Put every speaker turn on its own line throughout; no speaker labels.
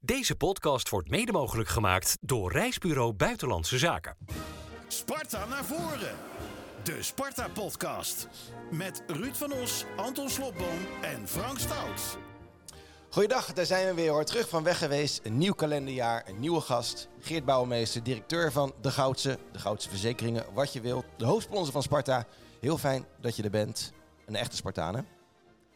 Deze podcast wordt mede mogelijk gemaakt door Reisbureau Buitenlandse Zaken.
Sparta naar voren. De Sparta Podcast. Met Ruud van Os, Anton Slobboom en Frank Stout.
Goeiedag, daar zijn we weer hoor. Terug van weg geweest. Een nieuw kalenderjaar, een nieuwe gast. Geert Bouwmeester, directeur van De Goudse. De Goudse Verzekeringen, wat je wilt. De hoofdsponsor van Sparta. Heel fijn dat je er bent. Een echte Spartaan hè?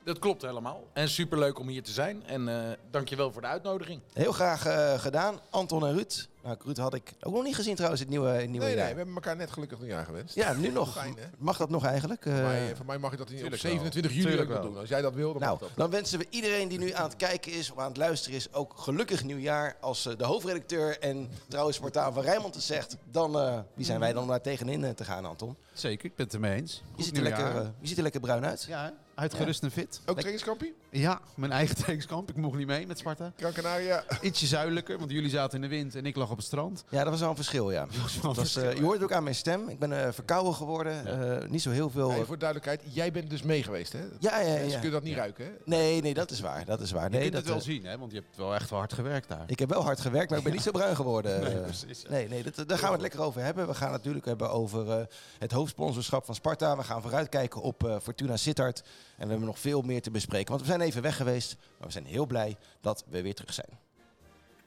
Dat klopt helemaal. En superleuk om hier te zijn. En eh dankjewel voor de uitnodiging.
Heel graag eh, gedaan. Anton en Ruud. Nou, Ruud had ik ook nog niet gezien trouwens, het nieuwe, het nieuwe
Nee, nee,
jaar.
we hebben elkaar net gelukkig nieuwjaar gewenst.
Ja, nu nog.
Fijn, hè?
Mag dat nog eigenlijk? Eh,
Maar eh, voor mij mag je dat niet op
Tuurlijk wel.
27 juli
Tuurlijk
ook nog
wel.
doen. Als jij dat wil, dan
nou,
mag dat.
dan wensen we iedereen die nu aan het kijken is of aan het luisteren is ook gelukkig nieuwjaar. Als eh, de hoofdredacteur en trouwens Spartaan van Rijmond het zegt, dan eh, wie zijn wij dan om daar tegenin eh, te gaan, Anton?
Zeker, ik ben het ermee eens.
Je
Goed
ziet, er lekker,
nieuwjaar.
eh, je ziet er lekker bruin uit.
ja, hè? uitgerust en fit.
Ook trainingskampie?
Ja, mijn eigen trainingskamp. Ik mocht niet mee met Sparta.
Gran Canaria.
Ietsje zuidelijker, want jullie zaten in de wind en ik lag op het strand.
Ja, dat was wel een verschil, ja.
Dat was wel
Dat
een
was, eh,
verschil,
je hoort het ook aan mijn stem. Ik ben eh, verkouden geworden. eh, niet zo heel veel.
Hey, voor duidelijkheid, jij bent dus mee geweest, hè?
Ja, ja, ja.
Mensen kunnen dat niet ruiken, hè?
Nee, nee, dat is waar. Dat is waar.
Je
Nee,
kunt
dat,
het wel
eh,
zien, hè, want je hebt wel echt wel hard gewerkt daar.
Ik heb wel hard gewerkt, maar ik ben niet zo bruin geworden. Nee, nee, nee dat, daar gaan we het lekker over hebben. We gaan het natuurlijk hebben over eh, het hoofdsponsorschap van Sparta. We gaan vooruitkijken op eh, Fortuna Sittard. En we hebben nog veel meer te bespreken. Want we zijn even weg geweest, maar we zijn heel blij dat we weer terug zijn.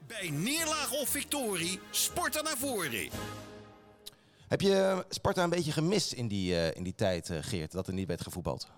Bij neerlaag of victorie, Sparta naar voren.
Heb je eh, Sparta een beetje gemist in die, eh, in die tijd, eh, Geert, dat er niet werd gevoetbald?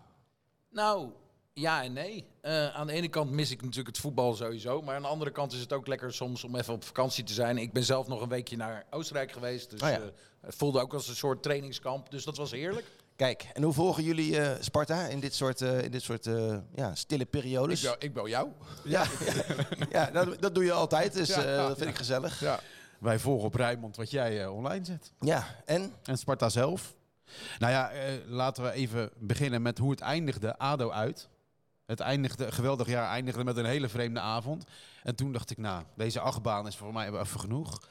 Nou, ja en nee. Eh, aan de ene kant mis ik natuurlijk het voetbal sowieso. Maar aan de andere kant is het ook lekker soms om even op vakantie te zijn. Ik ben zelf nog een weekje naar Oostenrijk geweest. Dus
Oh ja.
eh, het voelde ook als een soort trainingskamp. Dus dat was heerlijk.
Kijk, en hoe volgen jullie eh, Sparta in dit soort, eh, in dit soort eh, ja, stille periodes?
Ik
Dus-
bel, ik bel jou.
Ja, ja dat, dat doe je altijd, dus
Ja,
eh,
ja,
dat vind ik gezellig.
Ja.
Wij volgen op Rijmond wat jij eh, online zet.
Ja, en?
En Sparta zelf. Nou ja, eh, laten we even beginnen met hoe het eindigde. ADO uit. Het eindigde, geweldig jaar eindigde met een hele vreemde avond. En toen dacht ik, nou, deze achtbaan is voor mij wel even genoeg.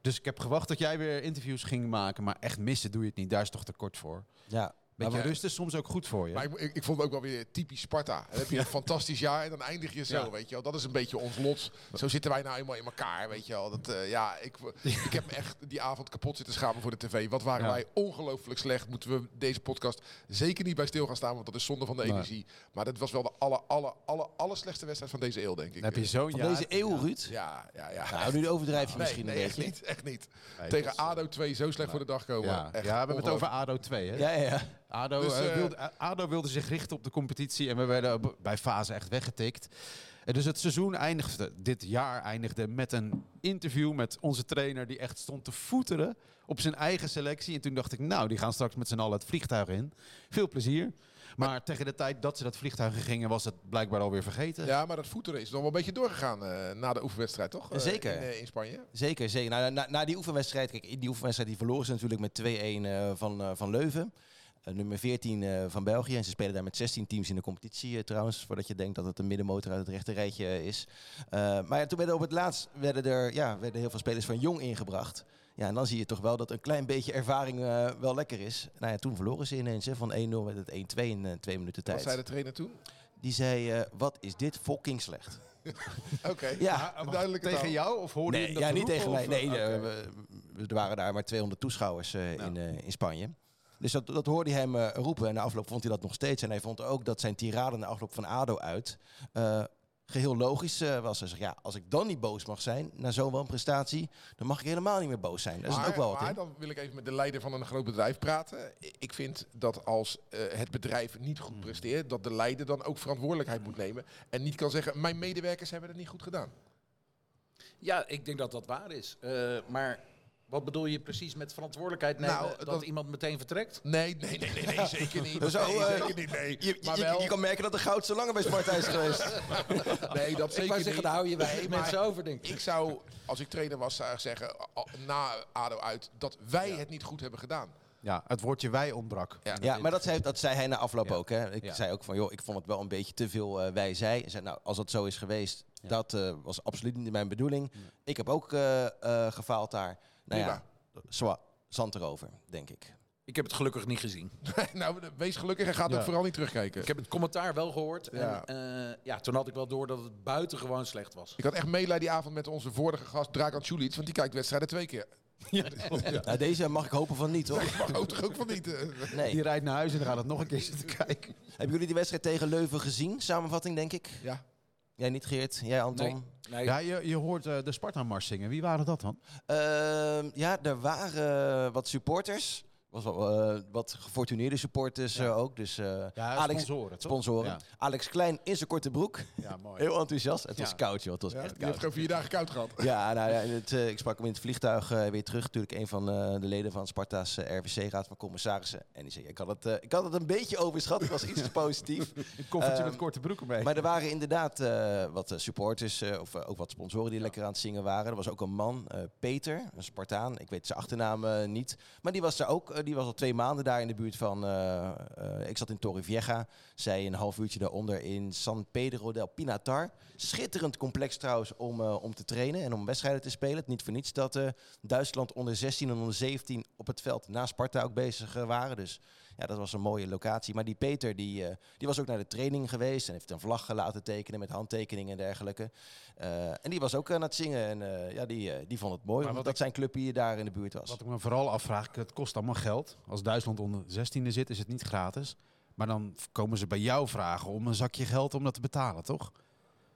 Dus ik heb gewacht dat jij weer interviews ging maken. Maar echt missen doe je het niet. Daar is toch te kort voor.
Ja,
Beetje
maar-
rust is soms ook goed voor je.
Maar ik, ik, ik vond het ook wel weer typisch Sparta. Dan heb je een fantastisch jaar en dan eindig je zo,
Ja.
weet je wel. Dat is een beetje ons lot. Zo zitten wij nou eenmaal in elkaar, weet je wel. Dat, eh, ja, ik, ik heb me echt die avond kapot zitten schamen voor de tv. Wat waren
Ja.
wij ongelooflijk slecht. Moeten we deze podcast zeker niet bij stil gaan staan, want dat is zonde van de
Nee.
energie. Maar dat was wel de aller, aller, aller, aller slechtste wedstrijd van deze eeuw, denk ik.
Dan heb je zo'n
van
jaar.
deze eeuw, Ruud?
Ja, ja, ja.
Nou, nu overdrijf je
Nee,
misschien
nee,
een
echt
beetje.
niet. Echt niet.
Nee,
Tegen
dat is, eh,
ADO 2 zo slecht voor de dag komen.
ja. ja,
Echt
we hebben het over
ongelooflijk.
ADO 2. Hè?
Ja, ja, ja.
ADO,
Dus,
eh,
eh,
wilde, eh, ADO wilde zich richten op de competitie en we werden op- bij fase echt weggetikt. En dus het seizoen eindigde, dit jaar eindigde met een interview met onze trainer die echt stond te voeteren op zijn eigen selectie. En toen dacht ik, nou, die gaan straks met z'n allen het vliegtuig in. Veel plezier. Maar, tegen de tijd dat ze dat vliegtuig in gingen, was het blijkbaar alweer vergeten.
Ja, maar dat voeteren is nog wel een beetje doorgegaan eh, na de oefenwedstrijd, toch? Eh,
Zeker.
In, eh, in Spanje.
Zeker, zeker. Nou, Na, na, na die oefenwedstrijd, kijk, in die oefenwedstrijd die verloren ze natuurlijk met 2-1 eh, van, eh, van Leuven. Eh, nummer 14 eh, van België. En ze spelen daar met 16 teams in de competitie eh, trouwens. Voordat je denkt dat het een middenmotor uit het rechte rijtje eh, is. Eh, maar ja, toen werden op het laatst werden er ja, werden heel veel spelers van jong ingebracht. Ja, en dan zie je toch wel dat een klein beetje ervaring eh, wel lekker is. Nou ja, toen verloren ze ineens hè, van 1-0 werd het 1-2 in eh, twee minuten tijd.
Wat zei de trainer toen?
Die zei, eh, wat is dit fucking slecht.
Oké.
Ja,
een duidelijke
tegen
taal.
jou of hoorde je
Nee,
hem dat
ja, niet
roepen,
tegen
of-
mij. Nee,
Oké.
eh, we- we- er waren daar maar 200 toeschouwers eh, in, eh, in Spanje. Dus dat, dat hoorde hij hem eh, roepen. En na afloop vond hij dat nog steeds. En hij vond ook dat zijn tirade na afloop van ADO uit... eh, geheel logisch eh, was. Hij zegt, ja, als ik dan niet boos mag zijn... na zo'n wel een prestatie, dan mag ik helemaal niet meer boos zijn. Daar zit ook wel wat
maar
in.
dan wil ik even met de leider van een groot bedrijf praten. I- Ik vind dat als eh, het bedrijf niet
Hmm.
goed presteert, dat de leider dan ook verantwoordelijkheid moet nemen. En niet kan zeggen, mijn medewerkers hebben het niet goed gedaan.
Ja, ik denk dat dat waar is. Eh, maar wat bedoel je precies met verantwoordelijkheid nemen
Nou,
dat,
dat-
iemand meteen vertrekt?
Nee, nee, nee, nee, nee zeker niet.
Zo,
nee,
eh,
zeker niet, nee.
Je, je-
maar
je-
wel,
je kan merken dat de goud zo langer bij Sparta is geweest.
nee, dat
ik
zeker
wou
niet.
zeggen, daar hou je bij
Nee, maar-
mensen over, denk ik.
Ik zou, als ik trainer was, zou ik zeggen, a- a- na ADO uit, dat wij het niet goed hebben gedaan.
Ja, het woordje wij ontbrak.
Ja.
Ja, maar dat zei, dat zei hij na afloop
Ja.
ook. Hè. Ik
Ja.
zei ook van, joh, ik vond het wel een beetje te veel eh, wij zij. Hij zei, nou, als dat zo is geweest, dat eh, was absoluut niet mijn bedoeling. Ik heb ook eh, eh, gefaald daar. Nou
Prima.
ja, zwa, zand erover, denk ik.
Ik heb het gelukkig niet gezien.
nou, wees gelukkig en ga het
Ja.
ook vooral niet terugkijken.
Ik heb het commentaar wel gehoord.
Ja.
En eh, ja, toen had ik wel door dat het buitengewoon slecht was.
Ik had echt meelij die avond met onze vorige gast Dragan Tjulic, want die kijkt wedstrijden twee keer.
Nou, deze mag ik hopen van niet, hoor.
Maar hou toch ook van niet. eh.
Nee.
Die rijdt naar huis en dan gaat het nog een keer zitten kijken.
Hebben jullie die wedstrijd tegen Leuven gezien? Samenvatting, denk ik.
Ja.
Jij niet, Geert. Jij, Anton.
Nee. Nee,
Ja, je, je hoort eh, de Sparta-mars zingen. Wie waren dat dan?
Ehm, ja, er waren wat supporters. Was wel, eh, wat gefortuneerde supporters eh, ook. Dus eh, Alex,
sponsoren.
sponsoren.
Ja.
Alex Klein in zijn korte broek.
Ja, mooi.
Heel enthousiast. Het was
Ja.
koud, joh. Het was
Ja,
echt
die heeft
koud.
gewoon vier dagen koud gehad.
Ja, nou ja, en het, eh, ik sprak hem in het vliegtuig eh, weer terug. Natuurlijk een van eh, de leden van Sparta's eh, RVC-raad van commissarissen. En die zei, ik had het, eh, ik had het een beetje overschat. Ik was iets te positief.
Een koffertje
Ehm,
met korte broeken mee.
Maar er waren inderdaad eh, wat eh, supporters, eh, of eh, ook wat sponsoren die lekker aan het zingen waren. Er was ook een man, eh, Peter, een Spartaan. Ik weet zijn achternaam eh, niet. Maar die was daar ook. eh, die was al twee maanden daar in de buurt van. eh, eh, ik zat in Torrevieja. Zij een half uurtje daaronder in San Pedro del Pinatar. Schitterend complex trouwens om, eh, om te trainen en om wedstrijden te spelen. Het niet voor niets dat eh, Duitsland onder 16 en onder 17 op het veld na Sparta ook bezig eh, waren. Dus ja, dat was een mooie locatie. Maar die Peter, die, eh, die was ook naar de training geweest en heeft een vlag laten tekenen met handtekeningen en dergelijke. Eh, en die was ook aan het zingen en eh, ja, die, eh, die vond het mooi,
wat
omdat dat zijn club hier daar in de buurt was.
Wat ik me vooral afvraag, het kost allemaal geld. Als Duitsland onder 16e zit, is het niet gratis. Maar dan komen ze bij jou vragen om een zakje geld om dat te betalen, toch?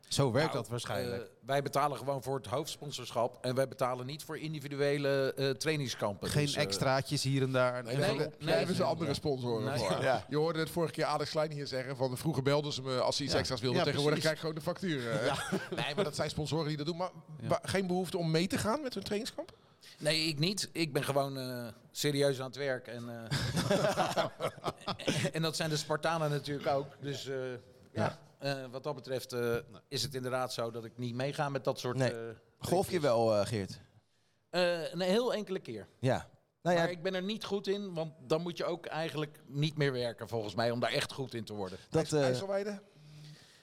Zo werkt
Nou,
dat waarschijnlijk.
eh, wij betalen gewoon voor het hoofdsponsorschap. En wij betalen niet voor individuele eh, trainingskampen.
Geen
Dus, eh,
extraatjes hier en daar.
Nee,
Nee, daar hebben-
nee,
daar hebben ze
nee.
andere sponsoren
Nee.
voor.
Ja.
Je hoorde het vorige keer Alex Klein hier zeggen van vroeger belden ze me als ze iets
Ja.
extra's wilden.
Ja,
Tegenwoordig
precies.
krijg ik gewoon de factuur. eh. Nee, maar dat zijn sponsoren die dat doen. Maar wa- geen behoefte om mee te gaan met hun trainingskamp?
Nee, ik niet. Ik ben gewoon eh, serieus aan het werk. En, eh, en dat zijn de Spartanen natuurlijk ook. Dus eh, ja, eh, wat dat betreft eh, is het inderdaad zo dat ik niet meega met dat soort...
Nee.
eh,
Golf je wel, eh, Geert?
eh, een heel enkele keer.
Ja. Nou ja,
Maar ik ben er niet goed in, want dan moet je ook eigenlijk niet meer werken volgens mij om daar echt goed in te worden.
dat... eh,
IJsselweide?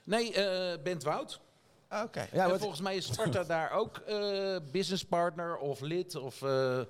Nee, eh Bent Woud.
Ah, Oké.
ja,
En
wat,
volgens mij is Sparta daar ook eh businesspartner of lid. Of, eh,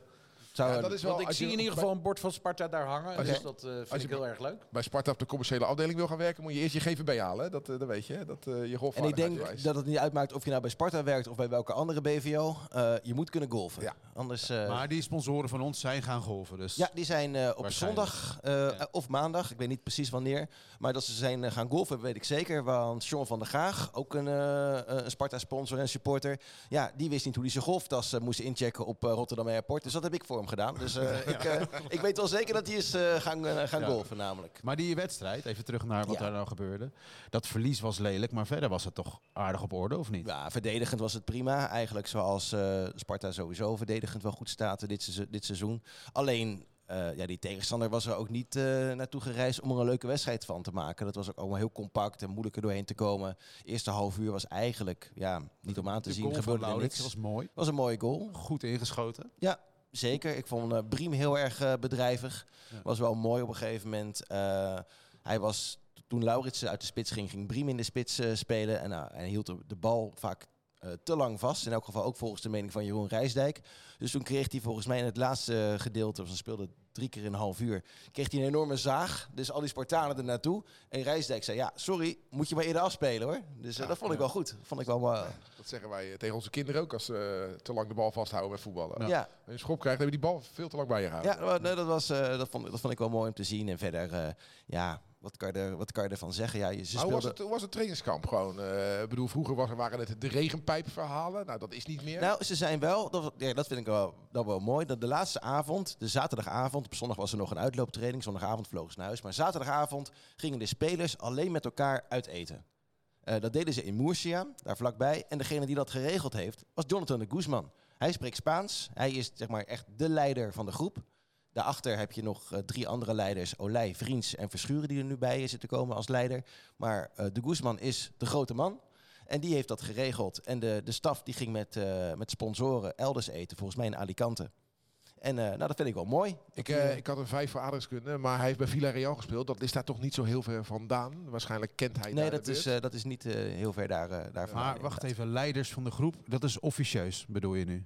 zou,
Ja, dat is wel-
want ik
als je
zie in ieder
bij-
geval een bord van Sparta daar hangen.
Als je-
Dus dat eh,
als
vind
je-
ik heel erg leuk.
Bij Sparta op de commerciële afdeling wil gaan werken, moet je eerst je GVB halen. hè. Dat, eh, dat weet je. hè. Dat, eh, je
en ik denk
golfvaardigheid-
dat het niet uitmaakt of je nou bij Sparta werkt of bij welke andere BVO. eh, je moet kunnen golfen.
Ja.
Anders... eh,
maar die sponsoren van ons zijn gaan golven. Dus.
Ja, die zijn eh, op
Waarschijnlijk.
zondag eh, eh, of maandag, ik weet niet precies wanneer. Maar dat ze zijn eh, gaan golfen, weet ik zeker. Want Sean van der Graag, ook een, eh, eh, een Sparta-sponsor en supporter. Ja, die wist niet hoe hij zijn golftas eh, moest inchecken op eh, Rotterdam Airport. Dus dat heb ik voor hem gedaan. Dus eh, ik, eh, ik weet wel zeker dat hij is eh, gaan, eh, gaan
Ja.
golfen namelijk.
Maar die wedstrijd, even terug naar wat
Ja.
daar nou gebeurde. Dat verlies was lelijk, maar verder was het toch aardig op orde, of niet?
Ja, verdedigend was het prima. Eigenlijk zoals eh, Sparta sowieso verdedigend wel goed staat dit, seizo- dit seizoen. Alleen, eh, ja, die tegenstander was er ook niet eh, naartoe gereisd om er een leuke wedstrijd van te maken. Dat was ook allemaal heel compact en moeilijk er doorheen te komen. Eerste half uur was eigenlijk ja, niet om aan te
De
zien.
goal van
Gebeurde er
Laurits
niks.
was mooi.
was een mooie goal.
Goed ingeschoten.
Ja, zeker. Ik vond eh, Briem heel erg eh, bedrijvig.
Ja.
Was wel mooi op een gegeven moment. Eh, hij was, toen Lauritsen uit de spits ging, ging Briem in de spits eh, spelen. En nou, hij hield de, de bal vaak eh, te lang vast. In elk geval ook volgens de mening van Jeroen Rijsdijk. Dus toen kreeg hij volgens mij in het laatste eh, gedeelte, want ze speelden drie keer in een half uur, kreeg hij een enorme zaag. Dus al die Spartanen er naartoe. En Rijsdijk zei, ja, sorry, moet je maar eerder afspelen hoor. Dus eh, dat vond ik wel goed. Vond ik wel... eh,
Dat zeggen wij eh, tegen onze kinderen ook als ze eh, te lang de bal vasthouden met voetballen.
ja.
Als je een schop krijgt, hebben die bal veel te lang bij je gehouden.
Ja, dat, nee, dat, was, eh, dat, vond, dat vond ik wel mooi om te zien. En verder, eh, ja, wat kan, je er, wat kan je ervan zeggen? Ja, je, ze
Maar hoe was,
speelden-
het, hoe was het trainingskamp gewoon? Eh, ik bedoel, vroeger was, er- waren het de regenpijpverhalen. Nou, dat is niet meer.
Nou, ze zijn wel, dat, ja, dat vind ik wel, dat wel mooi. Dat de laatste avond, de zaterdagavond, op zondag was er nog een uitlooptraining. Zondagavond vlogen ze naar huis. Maar zaterdagavond gingen de spelers alleen met elkaar uit eten. Eh, dat deden ze in Moersia, daar vlakbij. En degene die dat geregeld heeft, was Jonathan de Guzman. Hij spreekt Spaans. Hij is zeg maar echt de leider van de groep. Daarachter heb je nog eh, drie andere leiders, Olij, Vriends en Verschuren, die er nu bij zitten komen als leider. Maar eh, de Guzman is de grote man. En die heeft dat geregeld. En de, de staf die ging met, eh, met sponsoren elders eten, volgens mij in Alicante. En eh, nou, dat vind ik wel mooi.
Ik, eh, ik had een vijf voor aardrijkskunde, maar hij heeft bij Villarreal gespeeld. Dat is daar toch niet zo heel ver vandaan. Waarschijnlijk kent hij
nee,
daar de
dat is,
buurt.
eh, dat is niet eh, heel ver daar, eh, daarvan.
Maar wacht
inderdaad.
even, leiders van de groep, dat is officieus, bedoel je nu?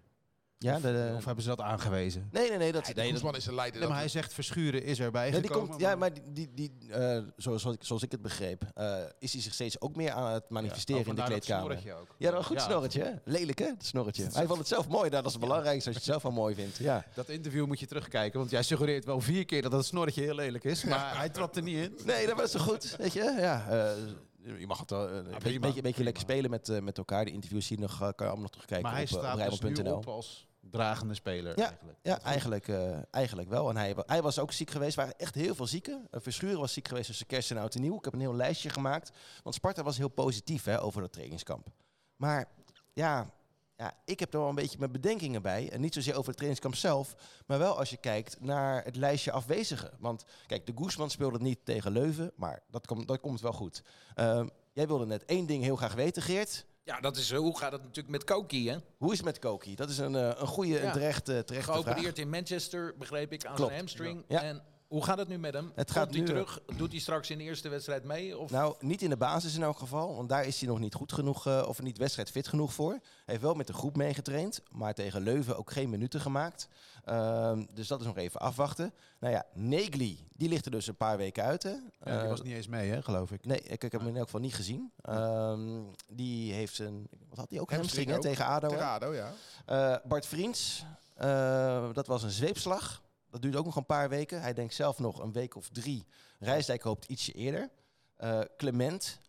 Ja, de, de-
Of hebben ze dat aangewezen?
nee, nee, nee. Dat,
Ja,
nee, dat-
Koesman is de leider.
Nee, maar
dat-
hij zegt Verschuren is erbij
Nee, die
gekomen.
komt, ja, maar die, die, die, eh, zoals, zoals ik, zoals ik het begreep, eh, is hij zich steeds ook meer aan het manifesteren
Oh,
in de
vandaar dat
kleedkamer.
snorretje ook.
Ja, dat was een goed
Ja.
snorretje. hè? Lelijk, hè? Het snorretje. Hij vond het zelf mooi. Nou, dat is het belangrijkste als je het zelf al mooi vindt. Ja.
Dat interview moet je terugkijken, want jij suggereert wel vier keer dat dat snorretje heel lelijk is, maar hij trapt er niet in.
Nee, dat was toch goed, weet je? Ja, eh, je mag het wel eh, een beetje, beetje, beetje lekker spelen met, eh, met elkaar. De interviews hier nog, eh, kan je allemaal nog terugkijken
Maar hij
op, eh, op
staat dus nu
rijnmond.nl.
op als dragende speler
Ja,
eigenlijk.
ja eigenlijk, eh, eigenlijk wel. En hij, wa- hij was ook ziek geweest. Er waren echt heel veel zieken. Eh, Verschuren was ziek geweest tussen kerst en oud en nieuw. Ik heb een heel lijstje gemaakt. Want Sparta was heel positief hè, over dat trainingskamp. Maar ja, ja, ik heb er wel een beetje mijn bedenkingen bij. En niet zozeer over het trainingskamp zelf. Maar wel als je kijkt naar het lijstje afwezigen. Want kijk, de Guzman speelde niet tegen Leuven. Maar dat, komt dat komt wel goed. Ehm, jij wilde net één ding heel graag weten, Geert.
Ja, dat is, eh, hoe gaat het natuurlijk met Koki, hè?
Hoe is het met Koki? Dat is een, eh, een goede en
Ja.
terechte, terechte vraag.
Geopereerd in Manchester, begreep ik, aan
Klopt.
zijn hamstring.
Ja.
En hoe gaat het nu met hem?
Het gaat
Komt hij
nu, eh,
terug? Doet hij straks in de eerste wedstrijd mee? Of
Nou, niet in de basis in elk geval. Want daar is hij nog niet goed genoeg eh, of niet wedstrijdfit genoeg voor. Hij heeft wel met de groep meegetraind. Maar tegen Leuven ook geen minuten gemaakt. Ehm, dus dat is nog even afwachten. Nou ja, Negli, die ligt er dus een paar weken uit. Hè?
Ja, die
Eh,
was niet eens mee, hè, geloof ik.
Nee, ik, ik heb hem in elk geval niet gezien. Ehm, die heeft een... Wat had hij ook? Hamstring
Hamstring
hè,
ook.
tegen ADO. hè?
Terrado, ja.
Eh, Bart Vriends, eh, dat was een zweepslag. Dat duurt ook nog een paar weken. Hij denkt zelf nog een week of drie. Rijsdijk hoopt ietsje eerder. Eh, Clement,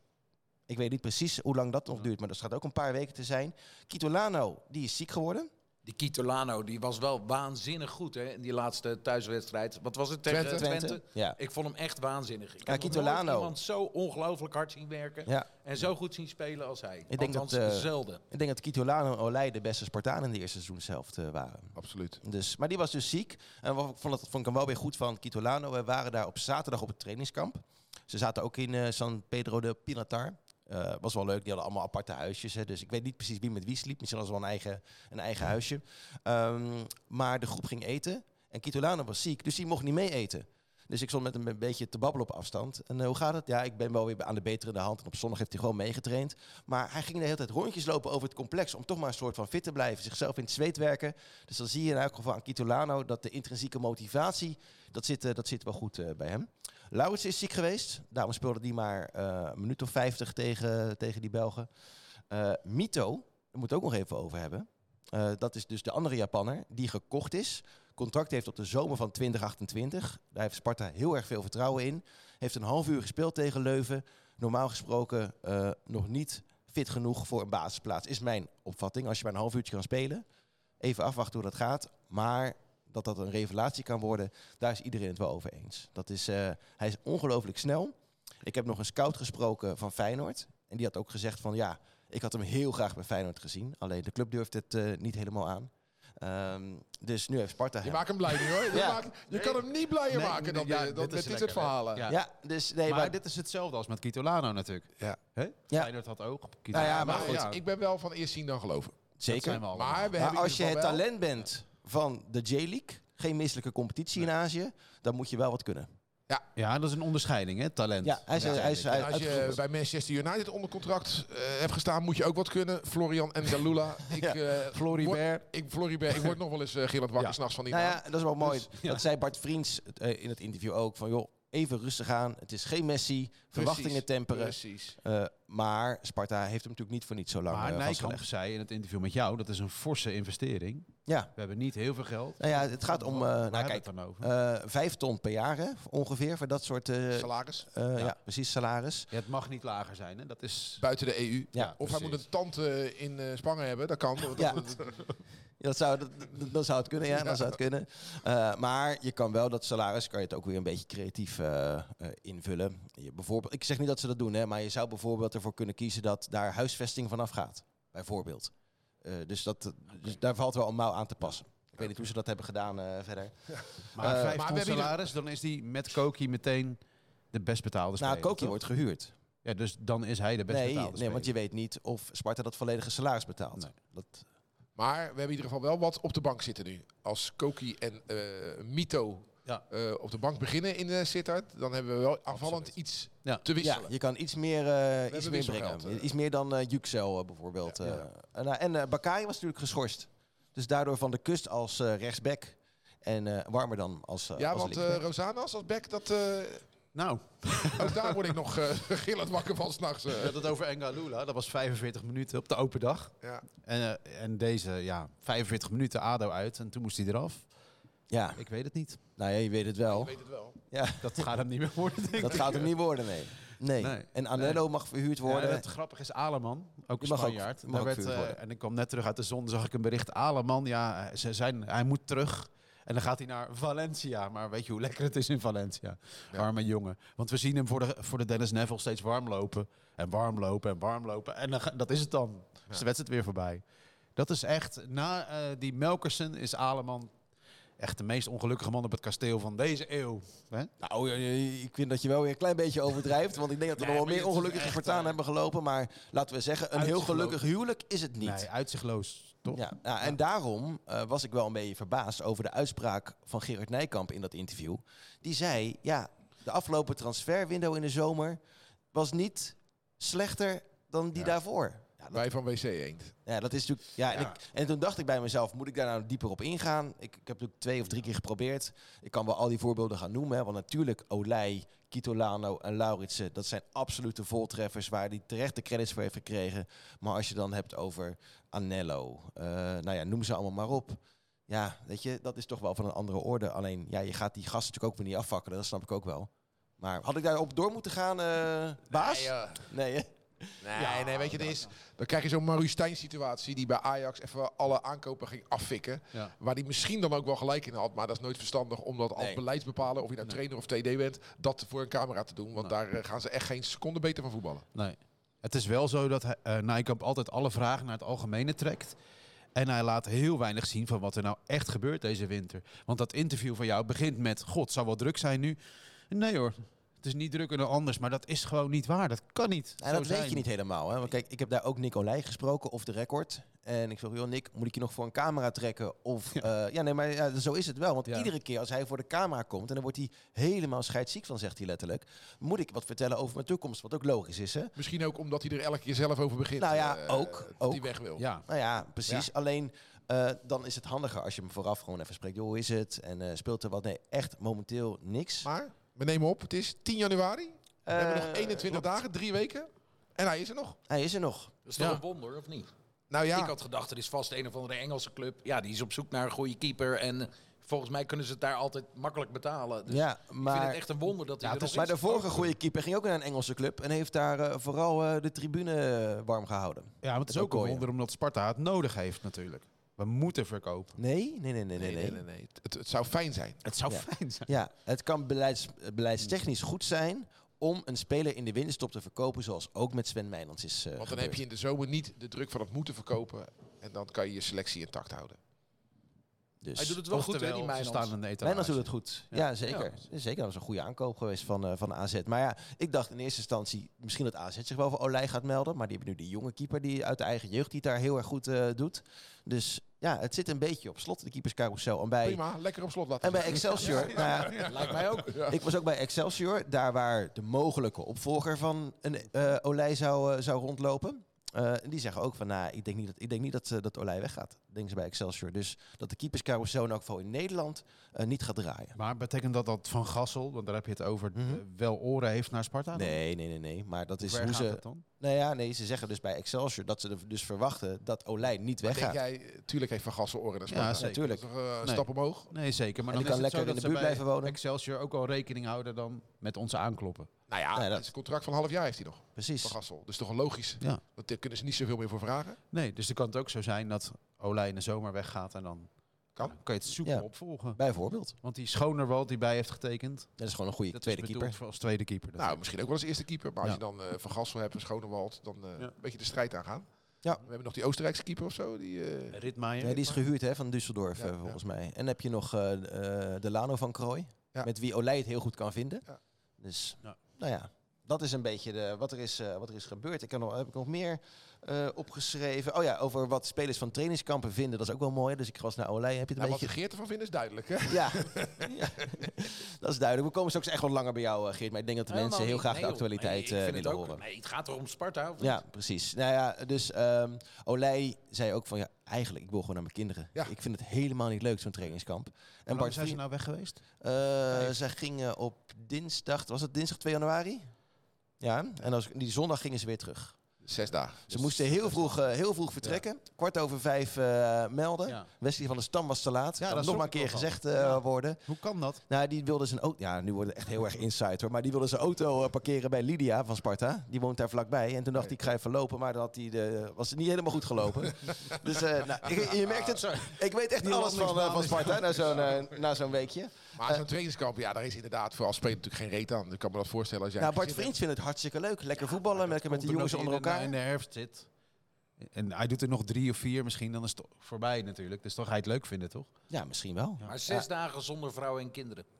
ik weet niet precies hoe lang dat nog duurt, maar dat gaat ook een paar weken te zijn. Kitolano, die is ziek geworden.
Die Kitolano, die was wel waanzinnig goed, hè? In die laatste thuiswedstrijd. Wat was het tegen
Twente.
Twente?
Ja.
Ik vond hem echt waanzinnig. Ik
Ja,
heb nog
Kitolano.
nooit iemand zo ongelooflijk hard zien werken.
ja.
En zo goed zien spelen als hij.
denk
Althans,
dat, eh,
zelden.
Ik denk dat Kitolano en Olij de beste Spartanen in de eerste seizoenshelft eh, waren.
Absoluut.
Dus, maar die was dus ziek. En wat ik vond, dat vond ik hem wel weer goed van Kitolano. We waren daar op zaterdag op het trainingskamp. Ze zaten ook in eh, San Pedro de Pinatar. Eh, was wel leuk, die hadden allemaal aparte huisjes. Hè. Dus ik weet niet precies wie met wie sliep. Misschien hadden ze wel een eigen, een eigen huisje. Ehm, maar de groep ging eten. En Kitolano was ziek, dus die mocht niet mee eten. Dus ik stond met hem een beetje te babbelen op afstand. En eh, hoe gaat het? Ja, ik ben wel weer aan de beterende hand. En op zondag heeft hij gewoon meegetraind. Maar hij ging de hele tijd rondjes lopen over het complex... om toch maar een soort van fit te blijven. Zichzelf in het zweet werken. Dus dan zie je in elk geval aan Kitolano dat de intrinsieke motivatie, dat zit, eh, dat zit wel goed eh, bij hem. Lauwers is ziek geweest, daarom speelde die maar eh, een minuut of vijftig tegen, tegen die Belgen. Eh, Mito, daar moeten we ook nog even over hebben. Eh, dat is dus de andere Japanner die gekocht is. Contract heeft op de zomer van 2028. Daar heeft Sparta heel erg veel vertrouwen in. Heeft een half uur gespeeld tegen Leuven. Normaal gesproken eh, nog niet fit genoeg voor een basisplaats. Is mijn opvatting. Als je maar een half uurtje kan spelen. Even afwachten hoe dat gaat. Maar dat dat een revelatie kan worden, daar is iedereen het wel over eens. Dat is, eh, hij is ongelooflijk snel. Ik heb nog een scout gesproken van Feyenoord. En die had ook gezegd van ja, ik had hem heel graag bij Feyenoord gezien. Alleen de club durft het eh, niet helemaal aan. Ehm, dus nu heeft Sparta
Je
hem.
maakt hem blij nu, hoor. Je,
Ja.
maakt- je kan hem niet blijer
Nee,
maken dan,
ja,
dan
dit
met dit
is
soort
lekker, hè.
verhalen.
Ja.
Ja, dus nee,
maar,
maar,
dit is hetzelfde als met Kitolano natuurlijk.
Ja.
Hè?
Ja.
Feyenoord had ook.
Nou ja,
Maar
Maar
goed, ik ben wel van eerst zien dan geloven.
zeker.
Maar, we
Maar
hebben
dus
als je
in
het
ieder geval wel-
talent bent van de J-League, geen misselijke competitie in Azië, dan moet je wel wat kunnen.
Ja, dat is een onderscheiding, hè? Talent.
Ja, hij is, hij is, hij
En
is
als je
uitgegroeid.
bij Manchester United onder contract eh, hebt gestaan, moet je ook wat kunnen. Florian en Dalula. Ik,
Ja.
eh,
Floribert.
word- Ik, Floribert. Ik word nog wel eens eh Gillard wakker
Ja.
s'nachts van die
Nou
naam.
ja, dat is wel mooi.
ja.
Dat zei Bart Vriends eh, in het interview ook. Van joh, even rustig aan. Het is geen Messi. Verwachtingen temperen.
Precies.
Eh, maar Sparta heeft hem natuurlijk niet voor niet zo lang
Maar
eh,
Nijkamp
vastgelegd.
zei in het interview met jou, dat is een forse investering.
Ja.
We hebben niet heel veel geld.
Nou ja, het gaat om... eh,
Waar hebben
nou
we
kijk,
het dan over?
eh, vijf ton per jaar hè, ongeveer voor dat soort... eh,
Salaris.
eh, ja.
Ja.
precies, salaris.
Ja, het mag niet lager zijn, hè? Dat is...
Buiten de EU.
Ja,
of hij
precies.
moet een tante in eh, Spangen hebben. Dat kan. want
Ja.
dat-
Ja, dat, zou, dat, dat- dat zou het kunnen, ja. Dat zou het kunnen. Eh, maar je kan wel dat salaris, kan je het ook weer een beetje creatief eh, eh, invullen. Je, bijvoorbeeld, ik zeg niet dat ze dat doen, hè, maar je zou bijvoorbeeld ervoor kunnen kiezen dat daar huisvesting vanaf gaat. Bijvoorbeeld. Eh, dus, dat, dus daar valt wel een mouw aan te passen. Ik weet niet hoe ze dat hebben gedaan eh, verder.
Maar vijf
maar
ton
we hebben
salaris, dan is die met Koki meteen de best betaalde speler.
nou, Koki
toch?
wordt gehuurd.
Ja, dus dan is hij de best
Nee,
betaalde
nee,
speler.
want je weet niet of Sparta dat volledige salaris betaalt.
Nee.
Dat,
Maar we hebben in ieder geval wel wat op de bank zitten nu. Als Koki en eh, Mito
Ja.
eh, op de bank beginnen in de Sittard, dan hebben we wel aanvallend iets
Ja.
te
ja,
wisselen.
je kan iets meer, eh, iets
hebben
meer
wisselgeld,
brengen.
eh.
nou, Iets meer dan eh Yüksel, eh, bijvoorbeeld. eh. En, eh, en eh, Bakari was natuurlijk geschorst. Dus daardoor Van de Kust als eh, rechtsback en eh, Warmer dan als, eh,
Ja,
als
want eh
linksback.
Rosanas als back, dat, eh,
Nou,
ook daar word ik nog eh gillend wakker van s'nachts. eh.
we hadden het over Engalula. Dat was 45 minuten op de open dag.
ja.
En, eh, en deze, ja, 45 minuten ADO uit. En toen moest hij eraf.
Ja,
Ik weet het niet.
nou ja, je weet het wel.
Ik weet het wel.
Ja,
Dat gaat hem niet meer worden, denk
dat
ik.
gaat hem niet worden, nee. Nee.
Nee.
En Anello mag verhuurd
Ja,
worden.
het grappige is Aleman, ook een
Die mag ook-
Spanjaard.
mag
Daar
ook
werd,
verhuurd
eh,
worden.
en ik kwam net terug uit de zon, zag ik een bericht. Aleman, ja, ze zijn, hij moet terug. En dan gaat hij naar Valencia. Maar weet je hoe lekker het is in Valencia? Arme jongen. Want we zien hem voor de, voor de Dennis Neville steeds warm lopen. En warm lopen en warm lopen. En dan, ga- dat is het dan. Dus de wedstrijd weer voorbij. Dat is echt, na eh, die Melkersen is Aleman echt de meest ongelukkige man op het kasteel van deze eeuw. Hè?
Nou, ja, ja, ik vind dat je wel weer een klein beetje overdrijft. Want ik denk dat er
Nee,
nog
maar
wel meer
dit is
ongelukkigen
echt,
voortaan
eh,
hebben gelopen. Maar laten we zeggen, een heel
uitgelopen.
gelukkig huwelijk is het niet.
Nee, uitzichtloos, toch?
Ja, nou, en daarom eh, was ik wel een beetje verbaasd over de uitspraak van Gerard Nijkamp in dat interview. Die zei, ja, de afgelopen transferwindow in de zomer was niet slechter dan die daarvoor. Ja, dat,
Wij van WC Eend.
ja, dat is natuurlijk... Ja, en,
Ja.
ik- en toen dacht ik bij mezelf, moet ik daar nou dieper op ingaan? Ik, ik heb natuurlijk twee of drie keer geprobeerd. Ik kan wel al die voorbeelden gaan noemen. Hè, want natuurlijk, Olij, Kitolano en Lauritsen, dat zijn absolute voltreffers waar hij terecht de credits voor heeft gekregen. Maar als je dan hebt over Anello, eh, nou ja, noem ze allemaal maar op. Ja, weet je, dat is toch wel van een andere orde. Alleen, ja, je gaat die gasten natuurlijk ook weer niet afvakken, dat snap ik ook wel. Maar had ik daarop door moeten gaan, eh, baas? Nee, hè?
Nee, nee, weet je, het is, dan krijg je zo'n Maru Stijn situatie die bij Ajax even alle aankopen ging afvikken.
Ja.
Waar die misschien dan ook wel gelijk in had, maar dat is nooit verstandig om dat als
Nee.
beleidsbepaler, of je nou trainer of TD bent, dat voor een camera te doen. Want daar eh, gaan ze echt geen seconde beter van voetballen.
Nee. Het is wel zo dat hij- eh Nijkamp altijd alle vragen naar het algemene trekt. En hij laat heel weinig zien van wat er nou echt gebeurt deze winter. Want dat interview van jou begint met... God, zou wel druk zijn nu. Nee hoor, het is niet drukker dan anders. Maar dat is gewoon niet waar. Dat kan niet.
Ja,
zo
dat
zijn.
weet je niet helemaal. Hè? Want kijk, ik heb daar ook Nick Olij gesproken, of de record. En ik zeg, joh Nick, moet ik je nog voor een camera trekken? Of, eh, ja, ja nee, maar ja, zo is het wel. Want
Ja.
iedere keer als hij voor de camera komt, en dan wordt hij helemaal scheidsziek van, zegt hij letterlijk. Moet ik wat vertellen over mijn toekomst? Wat ook logisch is, hè?
Misschien ook omdat hij er elke keer zelf over begint.
Nou ja,
eh,
ook,
Dat hij
ook.
weg wil.
Ja,
Nou ja, precies.
Ja.
Alleen, eh, dan is het handiger als je hem vooraf gewoon even spreekt. Joh, hoe is het? En eh, speelt er wat? Nee, echt momenteel niks.
Maar, we nemen op, het is 10 januari. We hebben
Eh,
nog 21 dagen, drie weken. En hij is er nog.
Hij is er nog.
Dat is toch
Ja.
een wonder, of niet?
Nou ja,
Ik had gedacht, er is vast een of andere Engelse club. Ja, die is op zoek naar een goede keeper. En eh, volgens mij kunnen ze het daar altijd makkelijk betalen. Dus
ja,
ik vind
maar...
het echt een wonder dat hij
Ja,
er
het
nog
Maar
is.
de vorige goede keeper ging ook naar een Engelse club en heeft daar eh, vooral eh, de tribune eh, warm gehouden.
ja maar het is
Dat
ook een
hoor je.
wonder omdat Sparta het nodig heeft natuurlijk. We moeten verkopen.
Nee, nee, nee, nee, nee. nee.
Het, het zou fijn zijn.
Het zou
Ja.
fijn zijn.
Ja, het kan beleids, eh, beleidstechnisch goed zijn om een speler in de winterstop te verkopen, zoals ook met Sven Meijlands is. eh,
Want dan
gebeurd.
heb je in de zomer niet de druk van het moeten verkopen. En dan kan je je selectie intact houden.
Dus.
Hij doet het wel goed, hè, die
Oftewel, ze
Mijnans.
staan in de etalage.
Meijlands doet het goed. Ja, zeker. Zeker, dat was een goede aankoop geweest van, eh, van AZ. Maar ja, ik dacht in eerste instantie misschien dat AZ zich wel voor Olij gaat melden. Maar die hebben nu die jonge keeper die uit de eigen jeugd die het daar heel erg goed eh, doet. Dus ja, het zit een beetje op slot, de keeperscarousel. En bij,
Prima, lekker op slot laten.
en bij
zitten.
Excelsior, nou ja,
Lijkt mij ook.
Ik was ook bij Excelsior, daar waar de mogelijke opvolger van een eh, Olij zou, eh, zou rondlopen. Eh, en die zeggen ook van, nou, ik denk niet dat, ik denk niet dat, eh, dat Olij weggaat, denken ze bij Excelsior. Dus dat de keeperscarousel in elk geval in Nederland eh, niet gaat draaien.
Maar betekent dat dat Van Gassel, want daar heb je het over,
Mhm.
eh, wel oren heeft naar Sparta?
Nee, nee, nee, nee. Maar dat is
Waar
hoe
gaat
ze...
het dan?
Nou ja, nee, ze zeggen dus bij Excelsior dat ze er dus verwachten dat Olij niet
Maar denk
weggaat.
jij, eh, tuurlijk heeft Van Gassel oren en Sparta.
Ja,
Dat
zeker.
is
Natuurlijk.
toch, eh, een
Nee.
stap omhoog.
Nee, zeker.
En die kan
Maar dan is het zo
lekker in
dat
de
ze
buurt
bij
blijven wonen.
Excelsior ook al rekening houden dan met onze aankloppen.
Nou ja,
Nee, dat-
het is een contract van een half jaar heeft hij nog. Van
Precies.
Gassel. Dus toch een logisch.
Ja.
Want daar kunnen ze niet zoveel meer voor vragen.
Nee, dus dan kan het ook zo zijn dat Olij in de zomer weggaat en dan
Kan.
kan je het soepel
Ja.
opvolgen.
Bijvoorbeeld.
Want die Schonerwald die bij heeft getekend,
Dat is gewoon een goede
dat
tweede
is bedoeld
keeper.
voor als tweede keeper. Dat
Nou, misschien ook wel als eerste keeper. Maar als
Ja.
je dan eh Van Gassel hebt en Schonewald, dan eh,
Ja.
een beetje de strijd aangaan.
Ja.
We hebben nog die Oostenrijkse keeper of zo. Die, eh,
Ritmaier.
Ja, die is gehuurd hè, van Düsseldorf
Ja,
eh,
ja.
volgens mij. En heb je nog eh eh, Delano van Krooi,
Ja.
met wie Olij het heel goed kan vinden.
Ja.
Dus
Ja.
nou ja, dat is een beetje de, wat, er is, eh, wat er is gebeurd. Ik kan nog, heb ik nog meer eh, eh, opgeschreven. Oh ja, over wat spelers van trainingskampen vinden. Dat is ook wel mooi. Dus ik was naar Olij. Heb je het een
Nou, wat
beetje...
de Geert ervan vindt is duidelijk. Hè?
Ja. ja, dat is duidelijk. We komen straks echt wat langer bij jou, eh, Geert. Maar ik denk dat de
Helemaal
mensen heel
niet.
graag
Nee,
de
joh. Nee,
actualiteit
ik
eh,
vind het
willen
ook-
horen.
Nee, het gaat toch om Sparta? Of
Ja, precies. Nou ja, dus ehm Olij zei ook van ja, eigenlijk ik wil gewoon naar mijn kinderen.
Ja.
Ik vind het helemaal niet leuk zo'n trainingskamp. En
En
Bart,
zijn ze
Vriend-
nou weg geweest?
eh, zij gingen op dinsdag, was het dinsdag 2 januari? Ja, en als, die zondag gingen ze weer terug.
Zes dagen.
Dus
Ze moesten heel vroeg, eh, heel vroeg vertrekken. Kwart over vijf eh, melden.
Ja.
Wesley van der Stam was te laat.
Ja,
kan
dat
nog
schrok
maar een
ik
keer
wel van.
gezegd eh,
Ja.
worden.
Hoe kan dat?
Nou, die wilde zijn auto... Ja, nu wordt het echt heel erg insight hoor. Maar die wilde zijn auto eh, parkeren bij Lydia van Sparta. Die woont daar vlakbij. En toen dacht hij, ik ga even lopen. Maar dan had hij de, was het niet helemaal goed gelopen. dus eh, nou, ik- je merkt het. Ik weet echt alles van, eh, van Sparta na zo'n eh, na zo'n weekje.
Maar zo'n trainingskamp, ja, daar is inderdaad voor als speler natuurlijk geen reet aan. Ik kan me dat voorstellen als jij...
Nou,
een
Bart
gezin
Vriends vindt het hartstikke leuk. Lekker voetballen, lekker met de
Komt
jongens
omdat
onder elkaar.
hij in de- In de herfst zit. En hij doet er nog drie of vier misschien, dan is het voorbij natuurlijk. Dus toch ga je het leuk vinden, toch?
Ja, misschien wel.
Maar zes dagen zonder vrouwen en kinderen.
hebt.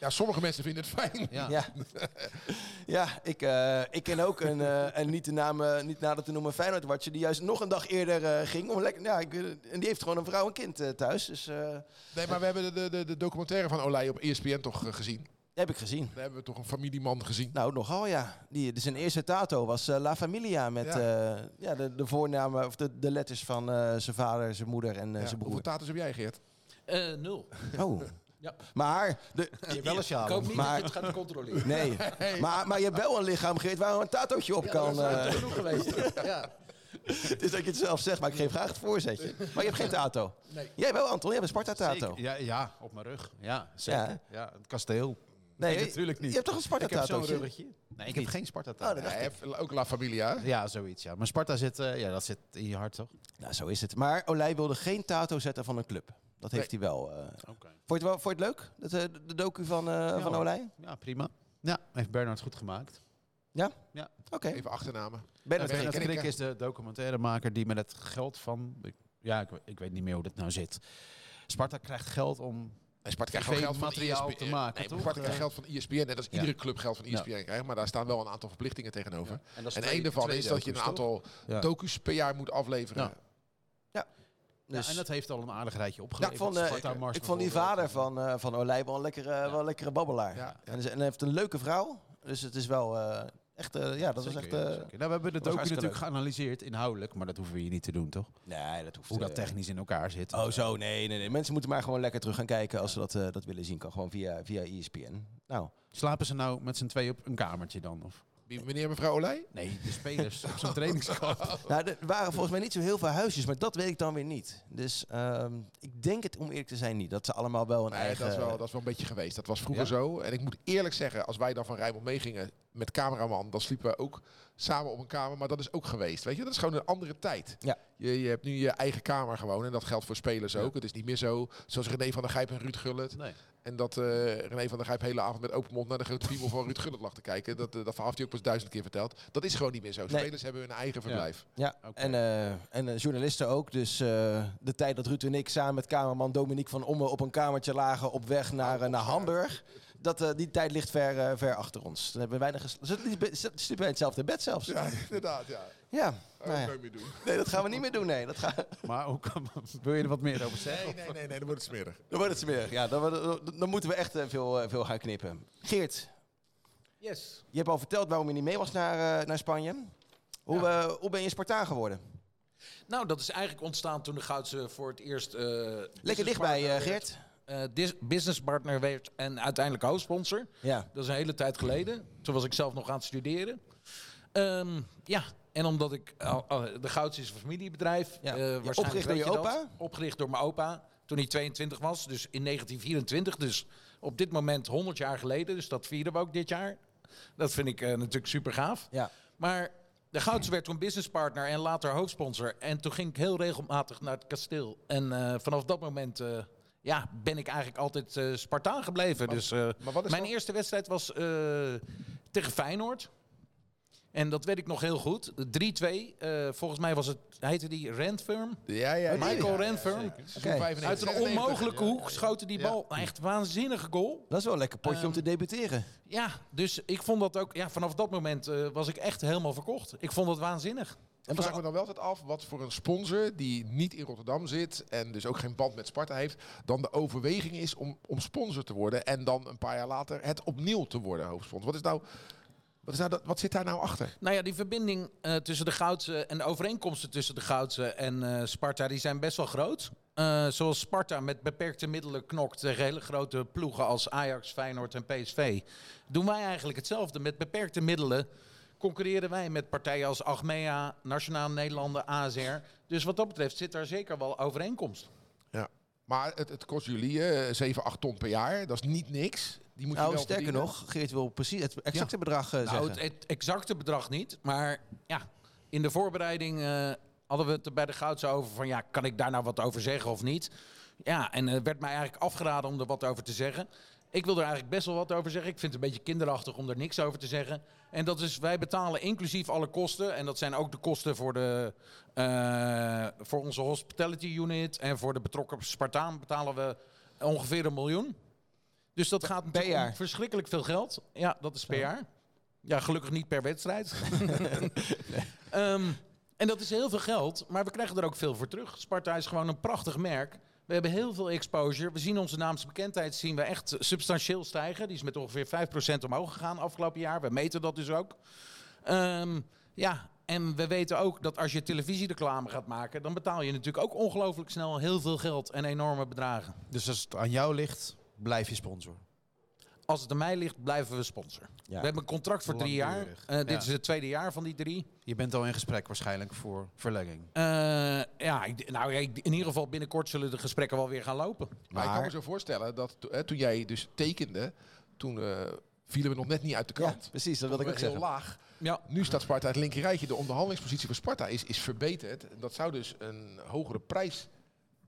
Ja, sommige mensen vinden het fijn.
Ja.
Ja, ja ik, eh, ik ken ook een, eh, een niet, de naam, eh, niet nader te noemen Feyenoord-watcher... die juist nog een dag eerder eh, ging. Om lekker, ja, ik, weet het. en die heeft gewoon een vrouw en kind eh, thuis. Dus eh, dat
Nee, maar we hebben de, de, de documentaire van Olij op ESPN toch eh, gezien.
heb ik gezien.
Daar hebben we toch een familieman gezien.
Nou, nogal ja. Die, dus zijn eerste tato was eh, La Familia met ja. ja, de, de voornamen of de, de letters van eh, zijn vader, zijn moeder en eh,
Ja,
zijn
Hoeveel
broer.
tattoos heb jij, Geert?
Eh, nul.
Oh.
Ja.
Maar, de,
wel eens
Ik hoop niet
Maar-
dat je het gaat controleren.
nee. Maar, maar je hebt wel een lichaam, Geert, waar een tatootje op kan.
dat is
eh.
nooit genoeg geweest. Ja.
Het is dat je het zelf zegt, maar ik geef graag het voorzetje. Maar je hebt geen tato.
Nee.
Jij wel, Anton. Jij hebt een Sparta-tato.
Zeker. Ja, ja, op mijn rug. Ja, zeker.
Ja.
Ja, het kasteel.
Nee,
Nee,
je-
natuurlijk niet.
je hebt toch een
Ik heb zo'n
Sparta-tatootje?
ruggetje. Nee, ik heb geen sparta
Oh, dat
Ja,
dacht
hij
ik.
heeft ook La Familia. hè?
Ja, zoiets. Ja. Maar Sparta zit, eh, ja, dat zit in je hart, toch?
Nou, zo is het. Maar Olij wilde geen tato zetten van een club. Dat heeft hij wel. eh. Vond, je het wel vond je het leuk, dat, eh, de docu van, eh, van
hoor.
Olij?
Ja, prima. Ja, heeft Bernard goed gemaakt.
Ja?
Ja.
Oké.
Even achternamen.
Bernard
Bernard
Bernard
Krikke.
Krikke.
is de documentairemaker die met het geld van... ik- Ja, ik, ik weet niet meer hoe dat nou zit. Sparta krijgt geld om...
En Sparta krijgt
Geen
gewoon geld van
materiaal
ESPN.
te maken,
Nee,
toch?
Sparta krijgt geld van E ESPN. Net als
Ja.
iedere club geld van E
Ja.
ESPN krijgt. Maar daar staan wel een aantal verplichtingen tegenover.
En, dat is
En
twee-
één daarvan
twee
is dat je een
docus,
aantal
toch? Ja.
docus per jaar moet afleveren.
Ja. Ja,
Dus-
en dat heeft al een aardig rijtje
Ja,
opgeleverd.
ik, vond, eh,
Sparta
ik-
Mars
ik vond die vader
bijvoorbeeld.
van, eh van Olij wel een lekkere, wel een lekkere babbelaar.
Ja.
En, ze- en hij heeft een leuke vrouw. Dus het is wel eh, echt... eh, ja, dat is echt...
Zeker, ja,
eh,
zeker. nou, we hebben de
was
docu
hartstikke
natuurlijk geanalyseerd inhoudelijk, maar dat hoeven we hier niet te doen, toch?
nee, dat hoeft
Hoe dat
eh,
technisch in elkaar zit.
Oh, zo. Nee, nee, nee. Mensen moeten maar gewoon lekker terug gaan kijken als ze dat, eh, dat willen zien. Kan gewoon via, via ESPN. Nou,
Slapen ze nou met z'n twee op een kamertje dan? Of?
Wie- Meneer en mevrouw Olij?
Nee, de spelers op zo'n trainingskamp.
nou, er waren volgens mij niet zo heel veel huisjes, maar dat weet ik dan weer niet. Dus ehm, ik denk het, om eerlijk te zijn, niet. Dat ze allemaal wel een
Nee,
eigen...
dat, is wel, dat is wel een beetje geweest. Dat was vroeger
Ja.
zo. En ik moet eerlijk zeggen, als wij dan van Rijnmond meegingen met cameraman, dan sliepen we ook samen op een kamer. Maar dat is ook geweest. Weet je, dat is gewoon een andere tijd.
Ja.
Je, je hebt nu je eigen kamer gewoon. En dat geldt voor spelers ook. Het is niet meer zo. Zoals René van der Gijp en Ruud Gullit.
Nee.
En dat eh, René van der Gijp hele avond met open mond naar de grote piemel van Ruud Gullit lag te kijken. Dat, eh, dat verhaal heeft hij ook pas duizend keer verteld. Dat is gewoon niet meer zo.
Nee.
Spelers hebben hun eigen verblijf.
Ja,
Oké.
en, eh, en eh, journalisten ook. Dus eh, de tijd dat Ruud en ik samen met cameraman Dominique van Omme op een kamertje lagen op weg naar, eh, naar Hamburg. Dat, eh, die tijd ligt ver, eh, ver achter ons. Dan hebben we weinig gesla- Zitten die be- zitten- Sliepen wij in hetzelfde bed zelfs? Ja,
Ja, inderdaad. Ja. Dat
nou ja.
kan je meer doen.
Nee, dat gaan we niet meer doen. Nee, dat gaan
Maar hoe kan, wil je er wat meer over zeggen?
Nee, nee, nee, nee, dan wordt het smerig.
Dan wordt het smerig. Ja, dan, dan, dan moeten we echt eh, veel, eh, veel gaan knippen. Geert,
Yes.
je hebt al verteld waarom je niet mee was naar, eh, naar Spanje. Hoe, eh, hoe ben je Spartaan geworden?
Nou, dat is eigenlijk ontstaan toen de Goudse voor het eerst... eh,
Lekker
businesspartner
dichtbij, eh,
werd.
Geert.
Eh, dis- businesspartner werd en uiteindelijk hoofdsponsor.
Ja.
Dat is een hele tijd geleden. Toen was ik zelf nog aan het studeren. Ehm, ja, en omdat ik... al- al- de Gouds is een familiebedrijf.
Ja.
eh,
Ja,
waarschijnlijk
opgericht door
weet
je
dat.
opa?
Opgericht door mijn opa. Toen hij 22 was, dus in 1924. Dus op dit moment 100 jaar geleden. Dus dat vieren we ook dit jaar. Dat vind ik eh, natuurlijk super gaaf.
Ja.
Maar de Gouds werd toen businesspartner en later hoofdsponsor. En toen ging ik heel regelmatig naar het kasteel. En eh, vanaf dat moment eh, ja, ben ik eigenlijk altijd eh, Spartaan gebleven. dus, eh,
maar wat is
mijn
dan-
eerste wedstrijd was eh, tegen Feyenoord. En dat weet ik nog heel goed. 3-2. eh, volgens mij was het, heette die Rentfirm?
Ja, ja, ja.
Michael
ja,
Rentfirm.
Oké.
Uit een onmogelijke hoek schoten die
Ja.
bal. Een Echt waanzinnige goal.
Dat is wel een lekker potje om te debuteren.
Ja, dus ik vond dat ook. Ja, vanaf dat moment eh, was ik echt helemaal verkocht. Ik vond dat waanzinnig.
En vraag me dan wel altijd af wat voor een sponsor die niet in Rotterdam zit en dus ook geen band met Sparta heeft, dan de overweging is om, om sponsor te worden en dan een paar jaar later het opnieuw te worden hoofdsponsor. Wat, is nou, wat, is nou, dat- wat zit daar nou achter?
Nou ja, die verbinding eh, tussen de Goudse en de overeenkomsten tussen de Goudse en eh, Sparta, die zijn best wel groot. Eh, zoals Sparta met beperkte middelen knokt tegen hele grote ploegen als Ajax, Feyenoord en PSV, doen wij eigenlijk hetzelfde. Met beperkte middelen concurreren wij met partijen als Achmea, Nationaal Nederlanden, ASR. Dus wat dat betreft zit daar zeker wel overeenkomst.
Ja. Maar het, het kost jullie eh 7, 8 ton per jaar. Dat is niet niks. Die moet je
Nou,
wel
sterker
verdienen.
nog, Geert wil precies het exacte bedrag eh,
Nou, het,
zeggen.
het exacte bedrag niet, maar ja, in de voorbereiding eh, hadden we het er bij de Goudse over van ja, kan ik daar nou wat over zeggen of niet? Ja, en het werd mij eigenlijk afgeraden om er wat over te zeggen. Ik wil er eigenlijk best wel wat over zeggen. Ik vind het een beetje kinderachtig om er niks over te zeggen. En dat is, wij betalen inclusief alle kosten. En dat zijn ook de kosten voor, de, eh, voor onze hospitality unit. En voor de betrokken Spartaan betalen we ongeveer een miljoen. Dus dat gaat natuurlijk om
jaar.
verschrikkelijk veel geld. Ja, dat is per jaar. Ja, gelukkig niet per wedstrijd. Ehm, en dat is heel veel geld, maar we krijgen er ook veel voor terug. Sparta is gewoon een prachtig merk. We hebben heel veel exposure. We zien onze naamsbekendheid zien we echt substantieel stijgen. Die is met ongeveer 5% omhoog gegaan afgelopen jaar. We meten dat dus ook. Ehm, ja, en we weten ook dat als je televisiereclame gaat maken... dan betaal je natuurlijk ook ongelooflijk snel heel veel geld en enorme bedragen.
Dus als het aan jou ligt, blijf je sponsor.
Als het aan mij ligt, blijven we sponsor.
Ja.
We hebben een contract voor drie jaar.
Langdurig.
Eh, dit
Ja.
is het tweede jaar van die drie.
Je bent al in gesprek waarschijnlijk voor verlenging.
Eh, ja, ik, nou, ja, ik- in ieder geval binnenkort zullen de gesprekken wel weer gaan lopen.
Maar, ik kan me
Maar-
zo voorstellen dat to- hè, toen jij dus tekende, toen eh, vielen we nog net niet uit de
Ja,
krant.
precies, dat
Stonden
wilde ik
we
ook
heel
zeggen.
laag.
Ja.
Nu staat Sparta het linker rijtje. De onderhandelingspositie van Sparta is, is verbeterd. Dat zou dus een hogere prijs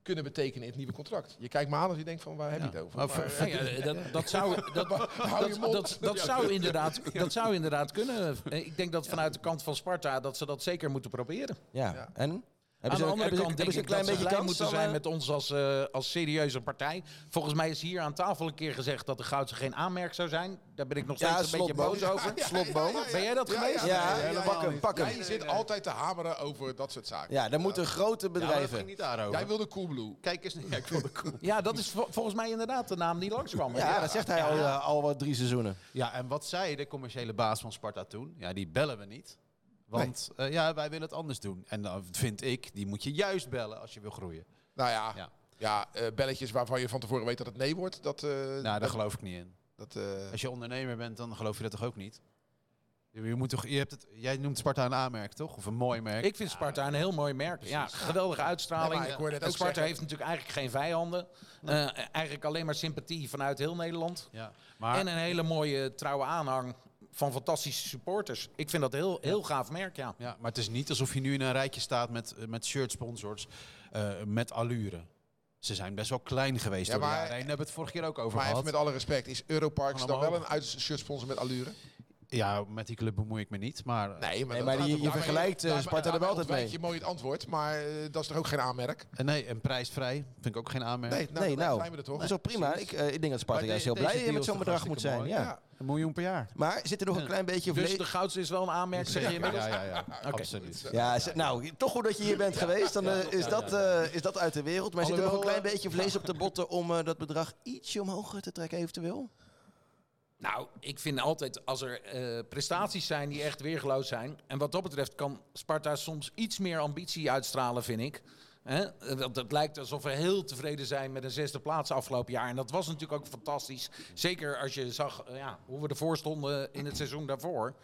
kunnen betekenen in het nieuwe contract. Je kijkt me aan als je denkt van waar heb je het over?
Maar
Maar,
ver-
Nou ja, dat, dat, zou, dat,
Hou je
dat,
mond.
dat, dat, zou inderdaad, dat zou inderdaad kunnen. Eh, Ik denk dat vanuit de kant van Sparta dat ze dat zeker moeten proberen.
Ja.
Ja.
en?
Aan
Hebben
de
ze, ook-
andere
hebben ze,
kant denk
hebben ze
ik
een klein beetje kans
dat ze blij moeten
dan,
zijn
eh?
met ons als, eh, als serieuze partij. Volgens mij is hier aan tafel een keer gezegd dat de Goudse geen aanmerk zou zijn. Daar ben ik nog steeds
Ja,
een beetje
Slotboom.
boos over.
Slotboom.
Ben jij dat geweest?
Ja, pak hem, pak hem.
Jij zit altijd te hameren over dat soort zaken.
Ja, dan moeten grote
Nou, dat
bedrijven.
ging niet daarover.
Jij wilde Coolblue.
Kijk eens, ja, ik wilde cool.
Ja, dat is vo- volgens mij inderdaad de naam die langskwam.
Ja, dat zegt hij al, eh, al wat drie seizoenen.
Ja, en wat zei de commerciële baas van Sparta toen? Ja, die bellen we niet. Want eh, ja, wij willen het anders doen. En dan vind ik, die moet je juist bellen als je wil groeien.
Nou ja, ja.
Ja.
eh, belletjes waarvan je van tevoren weet dat het nee wordt. Dat, eh,
Nou, daar
dat,
geloof ik niet in.
dat, eh,
Als je ondernemer bent, dan geloof je dat toch ook niet? Je je moet toch, je hebt het, jij noemt Sparta een aanmerk, toch? Of een mooi merk.
Ik vind Sparta een heel mooi merk. Ja, geweldige
Nee,
uitstraling.
maar ik hoorde het
en
ook
Sparta
zeggen.
heeft natuurlijk eigenlijk geen vijanden. Eh, eigenlijk alleen maar sympathie vanuit heel Nederland.
ja. Maar
En een hele mooie trouwe aanhang van fantastische supporters. Ik vind dat een heel, heel gaaf merk, ja.
Ja, maar het is niet alsof je nu in een rijtje staat met, eh, met shirt sponsors, eh, met allure. Ze zijn best wel klein geweest
Ja,
door de
maar-
jaren heen. Daar hebben we het vorige keer ook over
maar even
gehad.
met alle respect, is Europarks
Gewoon
dan wel
omhoog.
een uitshirtsponsor sponsor met allure?
Ja, met die club bemoei ik me niet, maar... eh,
Nee, maar,
Nee, maar
dat-
die-
dat-
je
daarmee-
vergelijkt, eh,
daarmee-
Sparta er wel
daarmee
altijd mee.
ontwijk je mooi het antwoord, maar eh, dat is toch ook geen aanmerk?
eh, nee, en prijsvrij vind ik ook geen aanmerking.
Nee, nou,
nee,
dan
nou,
zijn we er toch?
dat is ook prima. Ik, eh, ik denk dat Sparta
Maar
juist
de-
heel
deze
blij
deal
met
is
zo'n
toch
bedrag moet zijn.
hartstikke
Ja.
mooi?
Een miljoen per jaar.
Maar zit er nog een klein beetje...
Dus
verle-
de Goudse is wel een aanmerk, zeg je inmiddels?
Ja, ja, ja. Absoluut.
Ja, ze- nou, toch goed dat je hier bent geweest. Dan eh, is, dat, eh, is dat uit de wereld. Maar zit er nog een
Alhoewel,
klein beetje vlees op de botten om eh, dat bedrag ietsje omhoog eh, te trekken eventueel?
Nou, ik vind altijd als er eh, prestaties zijn die echt weergeloos zijn. En wat dat betreft kan Sparta soms iets meer ambitie uitstralen, vind ik. Hè? Want het lijkt alsof we heel tevreden zijn met een zesde plaats afgelopen jaar. En dat was natuurlijk ook fantastisch. Zeker als je zag eh, ja, hoe we ervoor stonden in het seizoen daarvoor.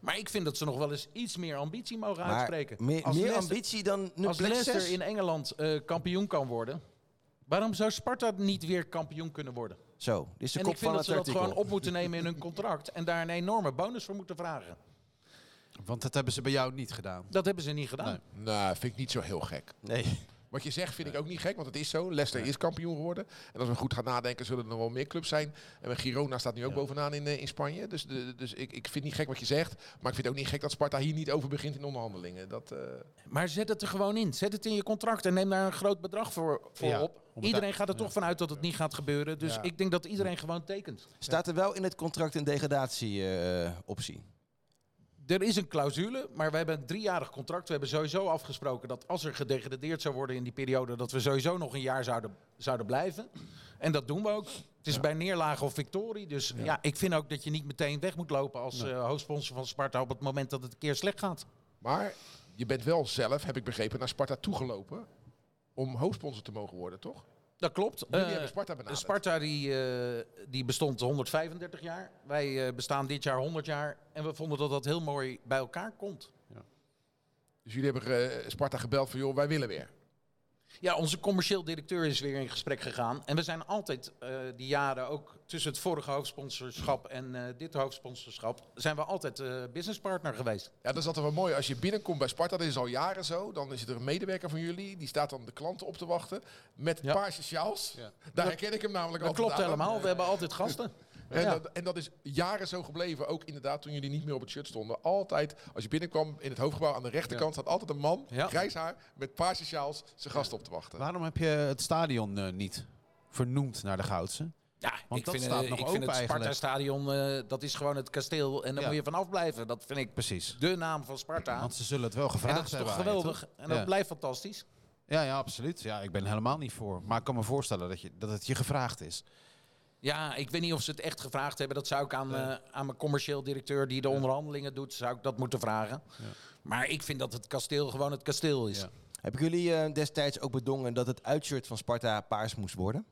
Maar ik vind dat ze nog wel eens iets meer ambitie mogen uitspreken.
meer,
Als
meer
Leicester-
ambitie dan nu
Als
plek
Leicester
zes?
in Engeland eh, kampioen kan worden, waarom zou Sparta niet weer kampioen kunnen worden?
Zo, dit is de
en
kop
ik vind
van
dat
het
ze dat
artikel.
gewoon op moeten nemen in hun contract en daar een enorme bonus voor moeten vragen.
Want dat hebben ze bij jou niet gedaan.
Dat hebben ze niet gedaan.
Nee.
Nou, vind ik niet zo heel gek.
Nee.
Wat je zegt vind ik ook niet gek, want het is zo. Leicester is kampioen geworden. En als we goed gaan nadenken, zullen er nog wel meer clubs zijn. En met Girona staat nu ook bovenaan in, eh, in Spanje. Dus, de, dus ik, ik vind niet gek wat je zegt. Maar ik vind ook niet gek dat Sparta hier niet over begint in onderhandelingen. Dat, eh,
Maar zet het er gewoon in. Zet het in je contract en neem daar een groot bedrag voor, voor
Ja,
op.
om het
Iedereen
uit-
gaat er toch vanuit dat het niet gaat gebeuren. Dus
Ja.
ik denk dat iedereen gewoon tekent.
eh, Staat er wel in het contract een degradatieoptie?
er is een clausule, maar we hebben een driejarig contract. We hebben sowieso afgesproken dat als er gedegradeerd zou worden in die periode, dat we sowieso nog een jaar zouden, zouden blijven. En dat doen we ook. Het is bij neerlage of victorie. Dus ja. ik vind ook dat je niet meteen weg moet lopen als eh, hoofdsponsor van Sparta op het moment dat het een keer slecht gaat.
Maar je bent wel zelf, heb ik begrepen, naar Sparta toegelopen om hoofdsponsor te mogen worden, toch?
Dat klopt.
Jullie
Eh,
hebben Sparta benaderd.
Sparta die, eh, die bestond 135 jaar. Wij eh, bestaan dit jaar 100 jaar. En we vonden dat dat heel mooi bij elkaar komt.
Dus jullie hebben eh, Sparta gebeld van, joh, wij willen weer.
Ja, onze commercieel directeur is weer in gesprek gegaan. En we zijn altijd eh, die jaren ook tussen het vorige hoofdsponsorschap en eh, dit hoofdsponsorschap... zijn we altijd eh, businesspartner geweest.
Ja, dat is altijd wel mooi. Als je binnenkomt bij Sparta, dat is al jaren zo. Dan is er een medewerker van jullie, die staat dan de klanten op te wachten. Met
Ja.
paarse sjaals. Daar herken ik hem namelijk
Dat
altijd
klopt
aan.
helemaal. We hebben altijd gasten.
En,
Ja.
dat, en dat is jaren zo gebleven. Ook inderdaad toen jullie niet meer op het shirt stonden. Altijd, als je binnenkwam in het hoofdgebouw aan de rechterkant, staat altijd een man,
Ja.
grijs haar, met paarse sjaals, zijn gast op te wachten.
Waarom heb je het stadion eh, niet vernoemd naar de Goudse?
Ja,
Want
ik
dat
vind,
staat
eh,
nog
ik
open
vind het
eigenlijk.
Sparta-stadion, eh, dat is gewoon het kasteel. En daar
Ja.
moet je vanaf blijven. Dat vind ik
Precies.
de naam van Sparta.
Want ze zullen het wel
En
gevraagd
dat is toch
hebben. aan je,
geweldig.
toch?
En dat
Ja.
blijft fantastisch.
Ja, ja, absoluut. Ja, ik ben er helemaal niet voor. Maar ik kan me voorstellen dat, je, dat het je gevraagd is.
Ja, ik weet niet of ze het echt gevraagd hebben. Dat zou ik aan, eh, aan mijn commercieel directeur die de onderhandelingen doet, zou ik dat moeten vragen. Maar ik vind dat het kasteel gewoon het kasteel is.
Ja.
Hebben jullie eh, destijds ook bedongen dat het uitshirt van Sparta paars moest worden?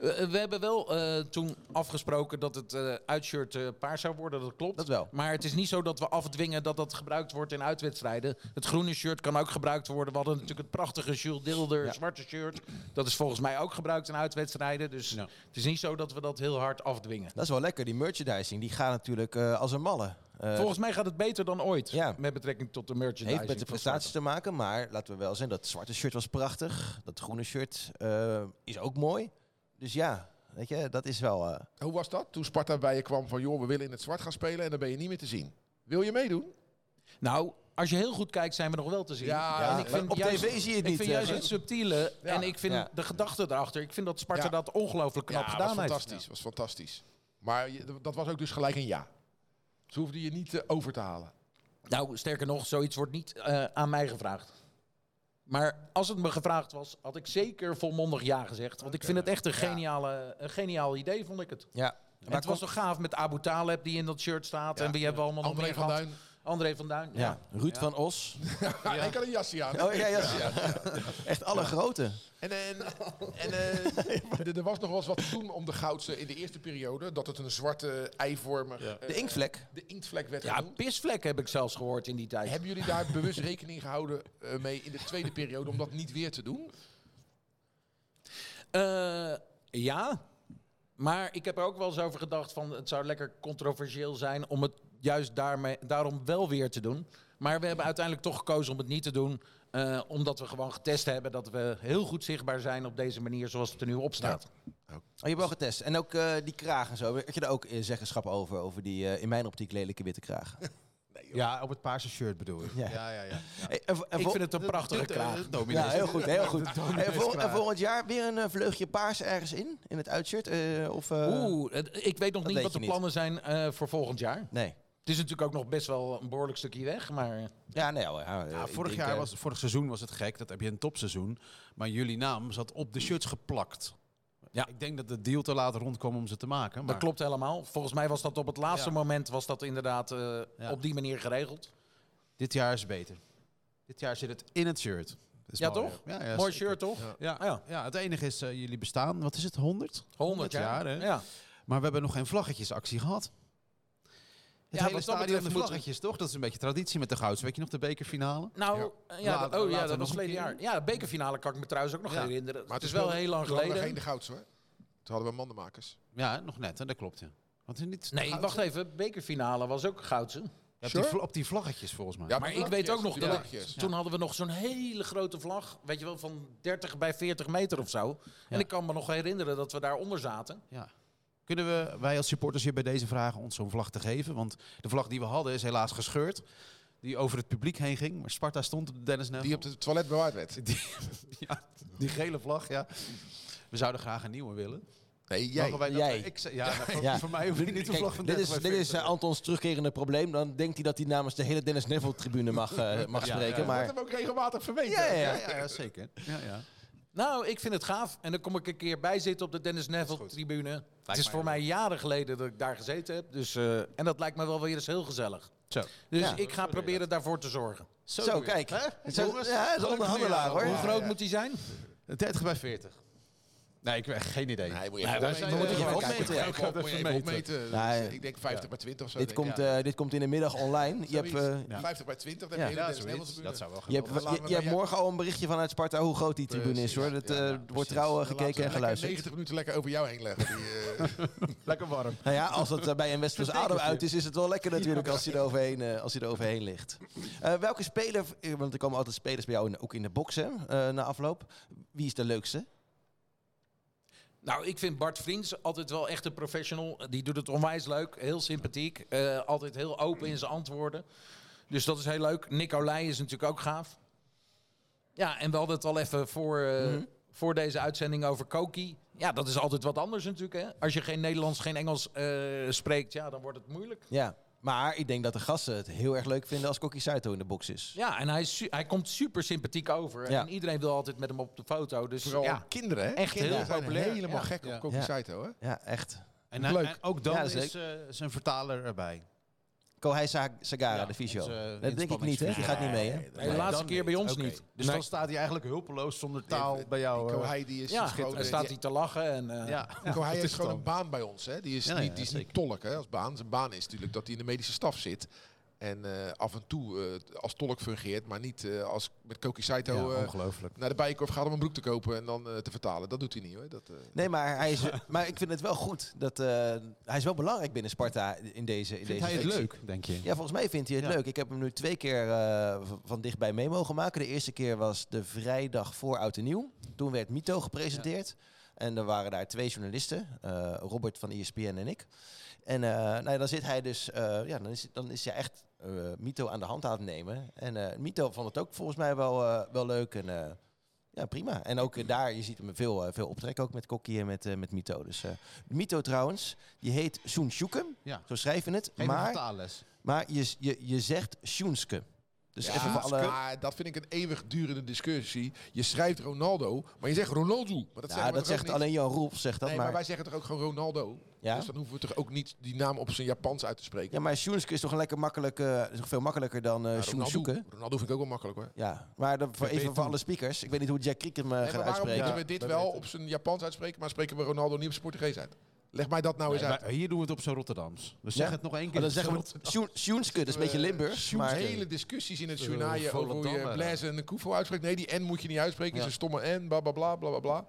Eh, eh, we hebben wel eh, toen afgesproken dat het eh, uitshirt eh, paars zou worden, dat klopt.
Dat wel.
Maar het is niet zo dat we afdwingen dat dat gebruikt wordt in uitwedstrijden. Het groene shirt kan ook gebruikt worden. We hadden natuurlijk het prachtige Jules Dilder zwarte shirt. Dat is volgens mij ook gebruikt in uitwedstrijden. Dus
Ja.
het is niet zo dat we dat heel hard afdwingen.
Dat is wel lekker. Die merchandising die gaat natuurlijk eh, als een malle. Eh,
Volgens mij gaat het beter dan ooit
Ja.
met betrekking tot de merchandise.
heeft met de prestaties te maken, maar laten we wel zijn, dat zwarte shirt was prachtig. Dat groene shirt eh, is ook mooi. Dus ja, weet je, dat is wel... eh,
Hoe was dat? Toen Sparta bij je kwam van, joh, we willen in het zwart gaan spelen en dan ben je niet meer te zien. Wil je meedoen?
Nou, als je heel goed kijkt, zijn we nog wel te zien.
Ja,
En
ja.
ik vind
op
juist,
tv zie je het
ik
niet.
vind juist
eh,
het subtiele en ik vind
Ja.
de gedachte erachter. Ik vind dat Sparta
Ja.
dat ongelooflijk knap
ja, was
gedaan heeft.
fantastisch. was fantastisch. Maar je- dat was ook dus gelijk een ja. Ze hoefden je niet eh, over te halen.
Nou, sterker nog, zoiets wordt niet eh, aan mij gevraagd. Maar als het me gevraagd was, had ik zeker volmondig ja gezegd. Want ik vind het echt een, geniale, een geniaal idee, vond ik het.
ja.
En het was toch gaaf met Abu Taleb die in dat shirt staat. En wie hebben we allemaal
André
nog
van
meer
Duin.
gehad? André van Duin.
Ja, Ruud van Os.
Ja. Ik had een jasje aan.
Oh ja, ja, ja. Echt alle grote.
En, en, en eh, er- er was nog wel eens wat te doen om de goudse in de eerste periode. Dat het een zwarte eivormige eh,
De inkvlek.
de inktvlek werd
Ja,
genoemd.
pisvlek heb ik zelfs gehoord in die tijd.
Hebben jullie daar bewust rekening gehouden eh, mee in de tweede periode om dat niet weer te doen?
Eh, ja, maar ik heb er ook wel eens over gedacht van het zou lekker controversieel zijn om het juist daarmee, daarom wel weer te doen. Maar we hebben uiteindelijk toch gekozen om het niet te doen. eh, omdat we gewoon getest hebben dat we heel goed zichtbaar zijn op deze manier zoals het er nu op staat.
Oh, je hebt wel getest. En ook eh, die kraag en zo. Had je daar ook eh, zeggenschap over? Over die eh, in mijn optiek lelijke witte kraag.
Ja, op het paarse shirt bedoel ik.
Ja.
ja, ja. ja.
Hey, en vo- en
ik
vo-
vind het een prachtige kraag.
De dominee
Ja,
is-
heel goed, heel goed.
dominee
En,
is
vol- en
klaar.
volgend jaar weer een eh, vleugje paars ergens in? In het uitshirt? eh, of, eh,
Oeh, het- ik weet nog
dat
niet
weet
wat
je
de
niet.
plannen zijn eh, voor volgend jaar.
Nee.
Het is natuurlijk ook nog best wel een behoorlijk stukje weg, maar...
Ja, nee. hoor, ja, eh,
Ja,
ik
vorig,
denk,
jaar
eh,
was, vorig seizoen was het gek, dat heb je een topseizoen. Maar jullie naam zat op de shirts geplakt.
Ja.
Ja. Ik denk dat de deal te laat rondkwam om ze te maken. Maar
Dat klopt helemaal. Volgens mij was dat op het laatste
Ja.
moment was dat inderdaad eh,
Ja.
op die manier geregeld.
dit jaar is beter. Dit jaar zit het in het shirt. Dat is
Ja,
mooi.
toch?
Ja, ja,
Mooi
zeker.
shirt, toch?
Ja.
Ah, ja.
Ja. het enige is, eh, jullie bestaan, wat is het, 100?
100 jaar.
jaar, hè?
ja.
Maar we hebben nog geen vlaggetjesactie gehad. Het
Ja, wat
hele
dat
stadion
betreft
met
moeten-
vlaggetjes, toch? Dat is een beetje traditie met de Gouds. Weet je nog de bekerfinale?
Nou, eh, ja,
Later-
dat, oh,
later
ja,
nog
dat was
een
verleden
keer.
jaar. Ja, de bekerfinale kan ik me trouwens ook nog
Ja.
herinneren. Maar het is
toen
wel
hadden-
heel lang
toen hadden we
geleden.
geen de gouds hoor. Toen hadden we mandenmakers.
Ja, nog net, hè? dat klopt. Ja. Want niet de
Nee,
Goudse-
wacht even. Bekerfinale was ook goudse.
Ja, op,
Sure.
die, vla- op die vlaggetjes volgens mij.
Ja,
Maar ik
vlaggetjes,
weet ook nog
die
dat ik-
vlaggetjes.
toen hadden we nog zo'n hele grote vlag. Weet je wel, van 30 bij 40 meter of zo. En
Ja.
ik kan me nog herinneren dat we daaronder zaten.
Ja. Kunnen we, wij als supporters hier bij deze vragen ons zo'n vlag te geven? Want de vlag die we hadden is helaas gescheurd. Die over het publiek heen ging. Maar Sparta stond op de Dennis Neville.
Die op het toilet bewaard werd.
Die, ja, die gele vlag, ja. We zouden graag een nieuwe willen.
Nee, jij.
Mogen wij dat-
Jij.
Ik, zei- ja, nou, voor,
Ja.
voor mij hoef je niet de
Kijk,
vlag van
dit
30
is,
bij
dit is
40.
eh, Antons terugkerende probleem. Dan denkt hij dat hij namens de hele Dennis Neville-tribune mag, eh, mag
Ja,
spreken.
ja.
Dat
Maar
hebben we ook regelmatig verweten.
Ja, ja,
ja, ja, ja, zeker. Ja, ja.
Nou, ik vind het gaaf. En dan kom ik een keer bij zitten op de Dennis Neville-tribune. Het is
mij
voor mij jaren geleden dat ik daar gezeten heb. Dus, eh, en dat lijkt me wel weer eens heel gezellig.
Zo.
Dus
Ja.
ik ga proberen daarvoor te zorgen.
zo,
doe je
kijk.
het. Hè?
Het zijn-
Jongens,
ja, het is een
gelukkig
onderhandelaar,
nieuwjaar.
hoor.
Hoe
Oh, Ja,
groot
ja.
moet die zijn?
30 bij 40. Nee, ik heb echt geen idee.
Nee, moet je
Nou,
even
daar zijn-
opmeten.
moet je
Ja,
even
kijk,
opmeten,
kijk,
ja.
kijk, kijk, moet je even
Opmeten.
opmeten.
Nou,
Dus Ik denk 50 bij 20 of zo.
Dit
denk ik,
komt,
ja.
eh, dit komt in de middag online. Je hebt,
Zoiets.
eh,
ja.
50 bij 20, dan
Ja.
heb je
Ja,
de
zoiets.
hele
Dat zou wel
je, hebt,
Dan laten
je,
we
je
bij
hebt
jou-
morgen al een berichtje vanuit Sparta hoe groot die tribune
Precies,
is hoor.
ja,
Dat
ja,
eh,
ja,
wordt trouw eh,
Dan laten we
gekeken en
lekker
geluisterd.
90 minuten lekker over jou heen leggen. Die, eh,
Lekker warm.
Nou ja, als dat eh, bij een Westeros adem uit is, is het wel lekker natuurlijk als hij er overheen, eh, als hij er overheen ligt. Eh, welke speler, eh, want er komen altijd spelers bij jou in- ook in de box hè, eh, na afloop. Wie is de leukste?
Nou, ik vind Bart Vriends altijd wel echt een professional. Die doet het onwijs leuk, heel sympathiek. eh, altijd heel open in zijn antwoorden. Dus dat is heel leuk. Nicolai is natuurlijk ook gaaf. Ja, en we hadden het al even voor, eh, voor deze uitzending over Koki. Ja, dat is altijd wat anders natuurlijk. Hè? Als je geen Nederlands, geen Engels eh, spreekt, ja, dan wordt het moeilijk.
Ja, maar ik denk dat de gasten het heel erg leuk vinden als Kokkie Saito in de box is.
Ja, en hij, is su- hij komt super sympathiek over.
Ja.
En iedereen wil altijd met hem op de foto. Dus
vooral
ja,
kinderen, hè?
echt
kinderen
heel
zijn
populair.
helemaal
Ja.
gek op
Ja.
Koki
Ja.
Saito, hè?
Ja, echt.
En, hij-
Leuk.
en ook dan
Ja,
is eh,
zeker.
zijn vertaler erbij.
Kohei Sa- Sagara,
Ja,
de fysio.
onze, eh,
dat denk ik niet, hè? Die gaat niet mee, hè?
de laatste
dan
keer bij ons
Oké.
niet.
Dus
Nee.
dan staat hij eigenlijk hulpeloos zonder taal bij jou.
Die
eh,
Kohei, die is
ja,
gewoon...
dan
eh,
staat
die-
hij te lachen. En, eh,
ja.
Kohei
Dat
heeft
is
gewoon
dan.
een baan bij ons, hè? Die is,
Ja,
niet,
ja,
die is niet
zeker.
tolk, hè, als baan. Zijn baan is natuurlijk dat hij in de medische staf zit. En eh, af en toe eh, als tolk fungeert, maar niet eh, als met Koki Saito...
Ja,
eh,
ongelooflijk.
naar de bijenkorf gaat om een broek te kopen en dan eh, te vertalen. Dat doet hij niet hoor. Dat, eh,
Nee, maar, hij is, maar ik vind het wel goed. Dat, eh, hij is wel belangrijk binnen Sparta in deze in
Vindt
deze
hij het
functie.
leuk, denk je?
Ja, volgens mij vindt hij het
Ja.
leuk. Ik heb hem nu twee keer eh, v- van dichtbij mee mogen maken. De eerste keer was de vrijdag voor Oud en Nieuw. Toen werd Mito gepresenteerd. En er waren daar twee journalisten, eh, Robert van ESPN en ik. En eh, nou ja, dan zit hij dus, eh, ja, dan is, dan is hij echt eh, Mito aan de hand aan het nemen. En eh, Mito vond het ook volgens mij wel, eh, wel leuk. En eh, ja, prima. En ook eh, daar, je ziet hem veel, eh, veel optrekken, ook met Kokkie en met, eh, met Mito. Dus eh, Mito trouwens, die heet Soen Sjoeken.
Ja.
Zo schrijven we het.
Geen
maar
vertaalles.
maar je, je, je zegt Sjoenske. Dus
ja,
even voor alle...
maar dat vind ik een eeuwigdurende discussie. Je schrijft Ronaldo, maar je zegt Ronaldo. Maar dat,
ja,
zeggen we
dat
toch ook
zegt
niet?
alleen Jan Roelf, zegt dat
Nee, maar
maar.
wij zeggen toch ook gewoon Ronaldo.
Ja?
Dus dan hoeven we toch ook niet die naam op zijn Japans uit te spreken.
Ja, maar Sjoenske is toch een lekker makkelijk, eh, is toch veel makkelijker dan eh
Maar Ronaldo,
Sjoenzoeken?
Ronaldo vind ik ook wel makkelijk hoor.
Ja, maar dan, voor, even
beter.
voor alle speakers. Ik weet niet hoe Jack Kriek hem eh,
Nee,
gaat
maar waarom
uitspreken.
moeten
Ja,
we dit
dat
wel
weten we.
op zijn Japans uitspreken, maar spreken we Ronaldo niet op zijn Portugees uit? Leg mij dat nou eens uit.
Wij- hier doen we het op zo'n Rotterdams. Dus
Ja.
zeg het nog één
Maar
keer.
dan zeggen we Sjoen- Sjoenske, dat is een beetje Limburgs.
Sjoerd,
Maar,
Eh, hele discussies in het journaal over hoe je
Volendam, eh.
Blaise en de Koevo uitspreekt. Nee, die N moet je niet uitspreken.
Ja.
Is een stomme N, bla bla bla bla bla, bla.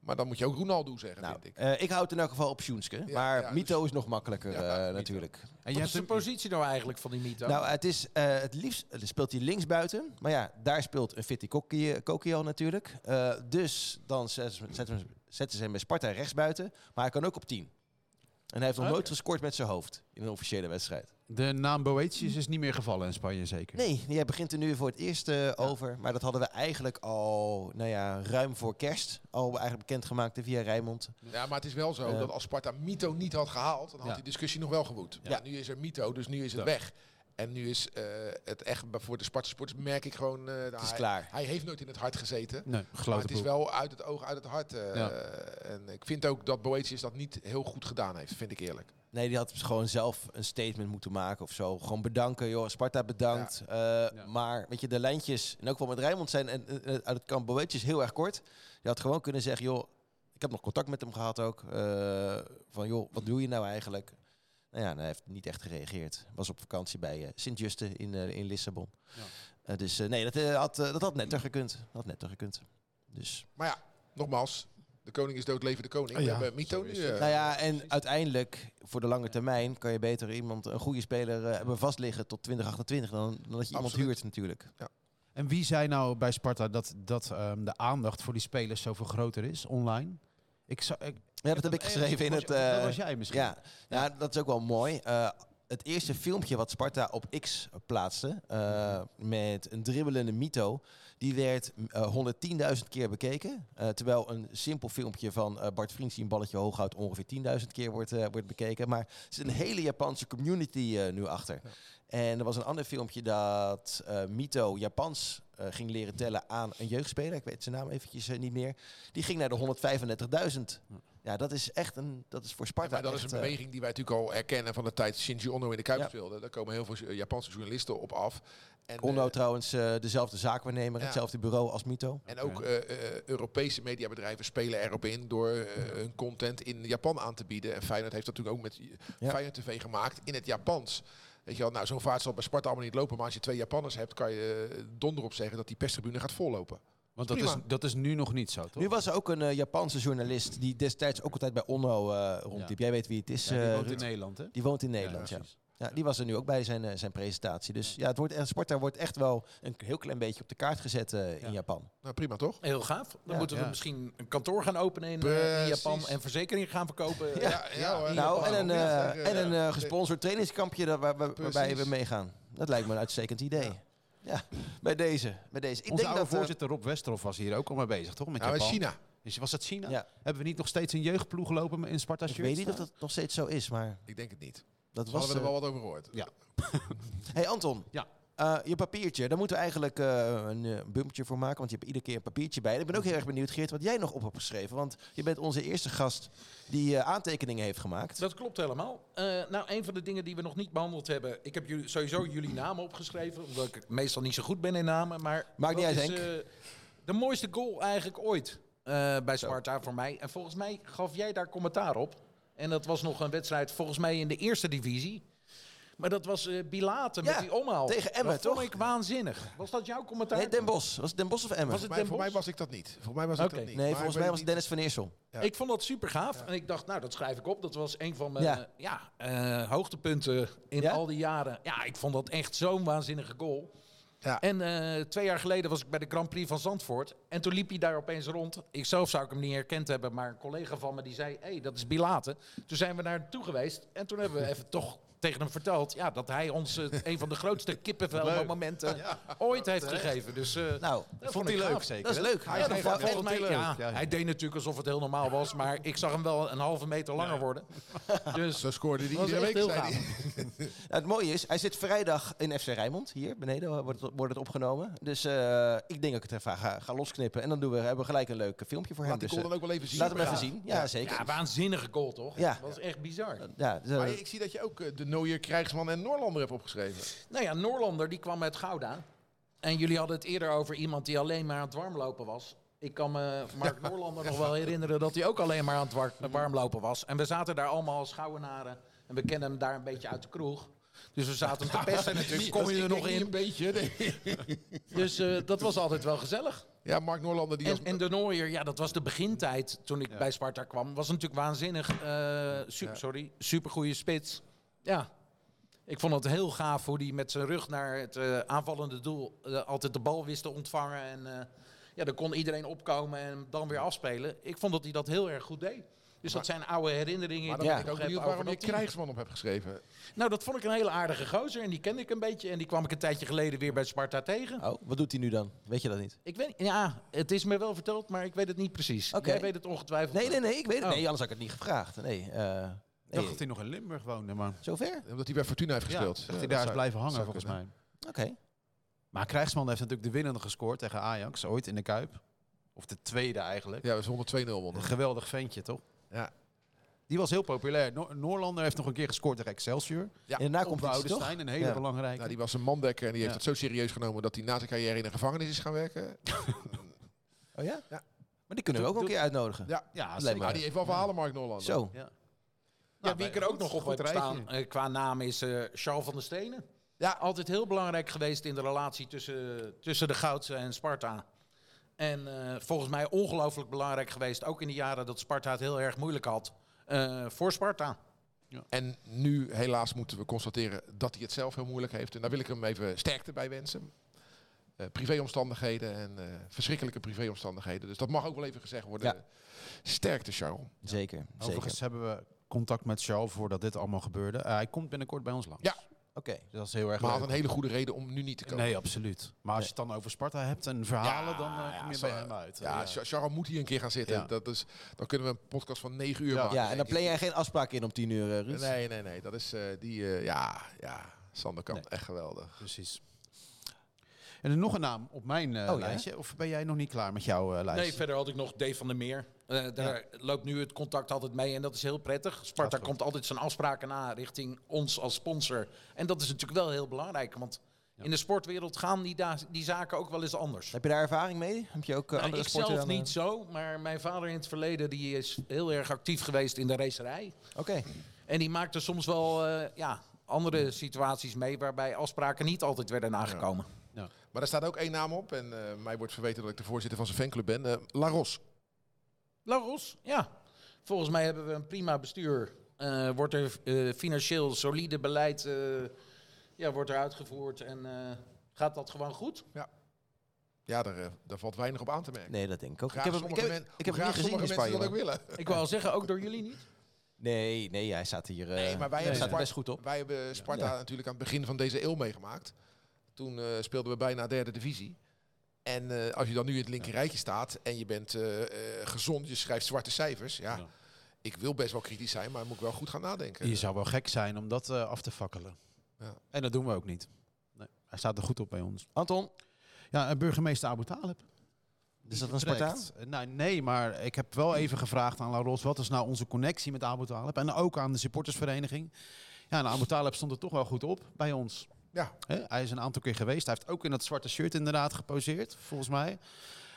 Maar dan moet je ook Ronaldo zeggen,
nou,
vind ik.
eh, ik houd in elk geval op Sjoenske.
Ja,
maar
ja,
Mito is nog makkelijker
Ja,
eh,
Mito.
natuurlijk.
En je
Wat
hebt
is de
hem-
positie nou eigenlijk van die Mito?
Nou, het is eh, het liefst eh, speelt hij linksbuiten. Maar ja, daar speelt een Fitty Kokkie- Kokkie al natuurlijk. Eh, dus dan zet- zetten ze- zetten ze hem bij Sparta rechtsbuiten. Maar hij kan ook op 10. En hij heeft nog nooit gescoord met zijn hoofd in een officiële wedstrijd.
De naam Boetius is niet meer gevallen in Spanje, zeker?
Nee, jij begint er nu voor het eerst eh, over. Maar dat hadden we eigenlijk al nou ja, ruim voor kerst al eigenlijk bekendgemaakt via Rijmond.
Ja, maar het is wel zo
Eh.
dat als Sparta Mito niet had gehaald, dan had
Ja.
die discussie nog wel gewoed.
Ja.
Maar nu is er Mito, dus nu is het
Ja.
weg. En nu is eh, het echt, voor de Sparta sporters merk ik gewoon... eh,
Het is
hij,
klaar.
hij heeft nooit in het hart gezeten.
Nee,
Maar
grote
het is
boek.
wel uit het oog, uit het hart. eh,
Ja.
En ik vind ook dat Boetius dat niet heel goed gedaan heeft, vind ik eerlijk.
Nee, die had gewoon zelf een statement moeten maken of zo. Gewoon bedanken, joh. Sparta bedankt. Eh,
Ja.
Maar weet je, de lijntjes, en ook wel met Rijmond zijn en, en- en uit het kamp Boetjes heel erg kort. Je had gewoon kunnen zeggen, joh, ik heb nog contact met hem gehad ook. eh, van joh, wat doe je nou eigenlijk? Nou ja, en hij heeft niet echt gereageerd. Was op vakantie bij eh, Sint-Juste in, eh, in Lissabon.
Ja.
Eh, dus eh, nee, dat, eh, had, eh, dat had netter gekund. Had netter gekund. Dus,
Maar ja, nogmaals, de koning is dood, leven de koning.
Ah, ja.
We hebben Mito
Zo
nu.
is het.
eh,
nou ja, en uiteindelijk, voor de lange termijn, kan je beter iemand, een goede speler eh, hebben vastliggen tot 2028 dan, dan dat je iemand
Absoluut.
huurt natuurlijk.
En wie zei nou bij Sparta dat, dat ehm, de aandacht voor die spelers zoveel groter is online? Ik zou, ik,
Ja, dat heb ik
ergens
geschreven in
was-
het...
dat
eh,
was jij misschien.
Ja, ja. dat is ook wel mooi. Eh, het
Mhm.
eerste filmpje wat Sparta op X plaatste, eh, met een dribbelende Mito, Die werd eh, 110.000 keer bekeken. eh, terwijl een simpel filmpje van eh, Bart Vriends die een balletje hoog houdt ongeveer 10.000 keer wordt, eh, wordt bekeken. Maar er is een hele Japanse community eh, nu achter. En er was een ander filmpje dat eh, Mito Japans eh, ging leren tellen aan een jeugdspeler. Ik weet zijn naam eventjes eh, niet meer. Die ging naar de 135.000. Ja, dat is echt een. Dat is voor Sparta.
Maar dat is
echt,
een
eh,
beweging die wij natuurlijk al herkennen van de tijd Shinji Ono in de Kuip
Ja.
speelde. Daar komen heel veel eh, Japanse journalisten op af. En, eh,
Onno trouwens eh, dezelfde zaakwaarnemer,
Ja.
hetzelfde bureau als Mito.
En ook eh, eh, Europese mediabedrijven spelen erop in door eh, hun content in Japan aan te bieden. En Feyenoord heeft dat natuurlijk ook met eh,
Ja.
Feyenoord TV gemaakt in het Japans. Weet je wel, nou zo'n vaart zal bij Sparta allemaal niet lopen. Maar als je twee Japanners hebt, kan je eh, donder op zeggen dat die perstribune gaat vollopen.
Want dat is,
Prima.
dat is nu nog niet zo, toch?
Nu was er ook een eh, Japanse journalist die destijds ook altijd bij Onno eh, rondliep. Jij weet wie het is.
Ja, die
eh,
woont in
Ruud.
Nederland, hè?
die woont in Nederland, ja.
precies.
Ja, die was er nu ook bij zijn, eh, zijn presentatie. Dus ja, het wordt, eh, Sparta wordt echt wel een heel klein beetje op de kaart gezet eh,
Ja.
in Japan.
Nou prima toch?
Heel gaaf. Dan
Ja.
moeten we
Ja.
misschien een kantoor gaan openen in, eh, in
Precies.
Japan en verzekeringen gaan verkopen.
Ja.
hoor.
Nou, en een, eh,
Ja, ja.
en een eh, gesponsord trainingskampje daar waar, waar- waarbij
Precies.
we meegaan. Dat lijkt me een uitstekend idee. Ja, bij deze. Bij deze. Ik
Onze
denk
oude
dat, eh,
Oh, voorzitter Rob Westerhof was hier ook al mee bezig, toch? Met
Nou, in
Japan.
China.
Dus was dat China?
Ja.
Hebben we niet nog steeds een jeugdploeg lopen in Sparta
ik
shirt?
weet niet of dat nog steeds zo is, maar
Ik denk het niet.
dat
We
was...
hadden
eh,
we er wel wat over gehoord.
Ja.
Hey Anton.
Ja.
Eh, je papiertje, daar moeten we eigenlijk eh, een eh, bumpje voor maken, want je hebt iedere keer een papiertje bij. En ik ben ook heel erg benieuwd, Geert, wat jij nog op hebt geschreven. Want je bent onze eerste gast die eh, aantekeningen heeft gemaakt.
Dat klopt helemaal. Eh, nou, een van de dingen die we nog niet behandeld hebben. Ik heb jullie, sowieso jullie namen opgeschreven. Omdat ik meestal niet zo goed ben in namen. Maar
Maakt niet
dat
uit,
is,
Henk.
eh, de mooiste goal eigenlijk ooit. eh, bij Sparta voor mij. En volgens mij gaf jij daar commentaar op. En dat was nog een wedstrijd, volgens mij in de eerste divisie. Maar dat was eh Bilate
Ja,
met die omhaal.
tegen Emmen,
dat vond
toch?
ik waanzinnig. Was dat jouw commentaar?
Nee, Den Bos. Was het Den Bos of Emmen?
Was het-
Voor mij,
Den
voor
Bosch?
mij was ik dat niet. Voor mij was ik
Oké.
dat niet.
nee,
Maar
volgens
ik
mij
weet
was het
niet-
Dennis van Eersel.
Ja.
Ik vond dat super gaaf. En ik dacht, nou, dat schrijf ik op. Dat was een van mijn
Ja.
ja. eh, hoogtepunten in
Ja?
al die jaren. Ja, ik vond dat echt zo'n waanzinnige goal.
Ja.
En eh, twee jaar geleden was ik bij de Grand Prix van Zandvoort. En toen liep hij daar opeens rond. Ik zelf zou ik hem niet herkend hebben, maar een collega van me die zei... hé, hey, dat is Bilate. Toen zijn we naar hem toe geweest. En toen hebben we even toch tegen hem verteld... Ja, dat hij ons eh, een van de grootste kippenvelmomenten ooit heeft gegeven. Dus, eh,
Nou,
dat
vond hij
ik
leuk,
gaaf.
zeker,
dat is
hè?
leuk.
Ja, dat vond-
en-
volgens mij,
hij leuk.
ja,
Ja, ja.
hij deed natuurlijk alsof het heel normaal was, maar ik zag hem wel een halve meter langer worden. Dus
Zo scoorde die
was
iedere
echt
week.
heel
zei
gaaf.
die.
Nou, het mooie is, hij zit vrijdag in FC Rijnmond. Hier beneden eh, wordt het, wordt het opgenomen. Dus eh, ik denk dat ik het even ga, ga losknippen. En dan doen we, hebben we gelijk een leuk eh, filmpje voor
Laat
hem.
die
Dus,
goal dan
eh,
ook wel even zien.
laat hem
Ja.
even zien. Ja, zeker.
ja, waanzinnige goal toch?
Ja.
Dat was echt bizar.
Ja, dus, eh,
Maar ik zie dat je ook eh, de Nooier, Krijgsman en Noorlander hebt opgeschreven.
Nou ja, Noorlander die kwam uit Gouda. En jullie hadden het eerder over iemand die alleen maar aan het warmlopen was. Ik kan me Mark Noorlander nog wel herinneren dat hij ook alleen maar aan het war- warmlopen was. En we zaten daar allemaal als Gouwenaren. En we kennen hem daar een beetje uit de kroeg. Dus we zaten hem te pesten en toen kom je er nog in.
beetje.
Dus eh, dat was altijd wel gezellig.
Ja, Mark Noorlander die
En,
was...
en de Nooier, ja, dat was de begintijd toen ik bij Sparta kwam. Was natuurlijk waanzinnig. eh super, Sorry, supergoeie spits. Ja, ik vond het heel gaaf hoe hij met zijn rug naar het eh, aanvallende doel eh, altijd de bal wist te ontvangen. En eh, ja, dan kon iedereen opkomen en dan weer afspelen. Ik vond dat hij dat heel erg goed deed. Dus dat zijn oude herinneringen.
maar
die
dan
Ja.
ben ik
nog
ook
heb
benieuwd
over
waarom je
dat team.
Krijgsman op hebt geschreven.
Nou, dat vond ik een hele aardige gozer. En die kende ik een beetje. En die kwam ik een tijdje geleden weer bij Sparta tegen.
oh, wat doet hij nu dan? Weet je dat niet?
Ik weet, ja, het is me wel verteld, maar ik weet het niet precies.
Oké.
Jij weet het ongetwijfeld.
Nee,
wel.
nee, nee, ik weet het.
Oh.
Nee, anders had ik het niet gevraagd. Nee, eh
Ik dacht
nee.
dat hij nog in Limburg woonde, maar...
zover?
Omdat hij bij Fortuna heeft
Ja,
gespeeld. Eh,
dacht
Ja,
hij
dat
daar is
zou-
blijven hangen,
zou
volgens
kunnen.
mij.
Oké.
Maar Krijgsman heeft natuurlijk de winnende gescoord tegen Ajax, ooit in de Kuip. Of de tweede eigenlijk.
Ja, we zijn 102-0
Een
wonnen.
geweldig ventje, toch?
Ja.
Die was heel populair. Noor- Noorlander heeft nog een keer gescoord tegen Excelsior.
Ja,
En daarna
Op
komt
dus
het toch?
Woudestein, een hele
Ja.
belangrijke.
Nou, die was een mandekker en die heeft
Ja.
het zo serieus genomen dat hij na zijn carrière in een gevangenis is gaan werken.
Oh ja?
Ja.
Maar die kunnen we ook
Doe-
een keer uitnodigen.
Ja,
ja,
Lijkt me-
maar die heeft wel verhalen, Mark Noorlander.
Zo.
Ja.
Ja, wie ik er ook nog op
goed
heb
rijtje.
Nou, staan eh, qua naam is eh, Charles van der Stenen.
Ja.
Altijd heel belangrijk geweest in de relatie tussen, tussen de Goudse en Sparta. En eh, volgens mij ongelooflijk belangrijk geweest, ook in de jaren dat Sparta het heel erg moeilijk had, eh, voor Sparta.
En nu helaas moeten we constateren dat hij het zelf heel moeilijk heeft. En daar wil ik hem even sterkte bij wensen. Eh, privéomstandigheden en eh, verschrikkelijke privéomstandigheden. Dus dat mag ook wel even gezegd worden. Sterkte, Charles.
Zeker. zeker.
Overigens hebben we contact met Charles voordat dit allemaal gebeurde. Eh, hij komt binnenkort bij ons langs.
Ja.
Dus dat is heel erg
Maar had
leuk.
een hele goede reden om nu niet te komen.
Nee, absoluut. Maar als je het dan over Sparta hebt en verhalen, dan eh, kom je
zo-
bij hem uit. eh,
Ja, Char- Charles moet hier een keer gaan zitten.
Ja.
Dat is, dan kunnen we een podcast van 9 uur
Ja.
maken.
Ja, en dan
denk
plan
ik.
jij geen afspraak in om 10 uur, eh, Ruud.
Nee, nee, nee. Dat is eh, die... eh, ja, ja. Sander kan echt geweldig.
Precies. En er nog een naam op mijn eh,
Oh,
ja?
lijstje. Of ben jij nog niet klaar met jouw eh, lijstje?
Nee, verder had ik nog Dave van der Meer. Eh, daar loopt nu het contact altijd mee en dat is heel prettig. Sparta komt altijd zijn afspraken na richting ons als sponsor. En dat is natuurlijk wel heel belangrijk, want in de sportwereld gaan die, da- die zaken ook wel eens anders.
Heb je daar ervaring mee? Heb je ook eh,
Nou,
andere
ik
sporten
zelf
dan, eh,
niet zo, maar mijn vader in het verleden die is heel erg actief geweest in de racerij.
Oké.
En die maakte soms wel eh, ja, andere situaties mee waarbij afspraken niet altijd werden nagekomen.
Maar daar staat ook één naam op. En eh, mij wordt verweten dat ik de voorzitter van zijn fanclub ben. Eh, Laros.
Laros, ja. Volgens mij hebben we een prima bestuur. Eh, wordt er eh, financieel solide beleid eh, ja, wordt er uitgevoerd en eh, gaat dat gewoon goed?
Ja, daar, eh, daar valt weinig op aan te merken.
Nee, dat denk ik ook.
Graag
ik heb hem, ik
sommige
heb,
men-
ik heb hem
graag
niet gezien in
sommige mensen
Spanje.
dat ook
man.
willen.
Ik wou al zeggen, ook door jullie niet.
Nee, nee, hij staat hier. eh,
Nee, maar
hij
wij hebben
staat er
Spar-
best goed op.
Wij hebben Sparta
Ja.
natuurlijk aan het begin van deze eeuw meegemaakt. Toen eh, speelden we bijna derde divisie. En eh, als je dan nu in het linker rijtje staat en je bent eh, eh, gezond, je schrijft zwarte cijfers. Ja,
Ja.
ik wil best wel kritisch zijn, maar moet ik wel goed gaan nadenken.
Je zou wel gek zijn om dat eh, af te fakkelen.
Ja.
En dat doen we ook niet. Nee, hij staat er goed op bij ons.
Anton,
Ja, en vermeester Abu Talib.
is dat een Spartaan?
Direct. Eh, nou, nee, maar ik heb wel even gevraagd aan Laros... wat is nou onze connectie met Abu Talib? En ook aan de supportersvereniging. Ja, en Abu Talib stond er toch wel goed op bij ons.
Ja.
Hè, hij is een aantal keer geweest. Hij heeft ook in dat zwarte shirt inderdaad geposeerd, volgens mij.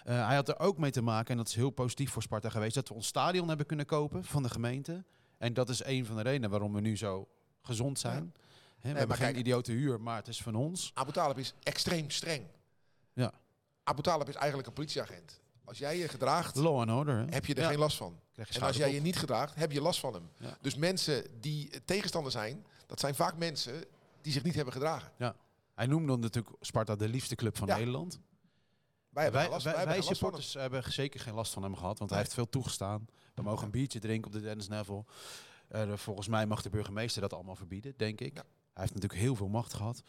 Eh, hij had er ook mee te maken, en dat is heel positief voor Sparta geweest... dat we ons stadion hebben kunnen kopen van de gemeente. En dat is een van de redenen waarom we nu zo gezond zijn. Hè, we hebben
maar
geen
kijk-
idiote huur, maar het is van ons.
Abu Talib is extreem streng.
Ja.
Abu Talib is eigenlijk een politieagent. Als jij je gedraagt,
Law and order, hè?
heb je er
Ja.
geen last van.
Krijg je
En als
schouderklop.
jij je niet gedraagt, heb je last van hem.
Ja.
Dus mensen die eh, tegenstander zijn, dat zijn vaak mensen die zich niet hebben gedragen.
Hij noemde dan natuurlijk Sparta de liefste club van
Ja.
Nederland.
Wij hebben
wij
geen last,
wij, wij
hebben geen last van hem.
supporters hebben zeker geen last van hem gehad, want hij heeft veel toegestaan. We mogen een biertje drinken op de Dennis Neville. Eh, volgens mij mag de burgemeester dat allemaal verbieden, denk ik.
Ja.
Hij heeft natuurlijk heel veel macht gehad.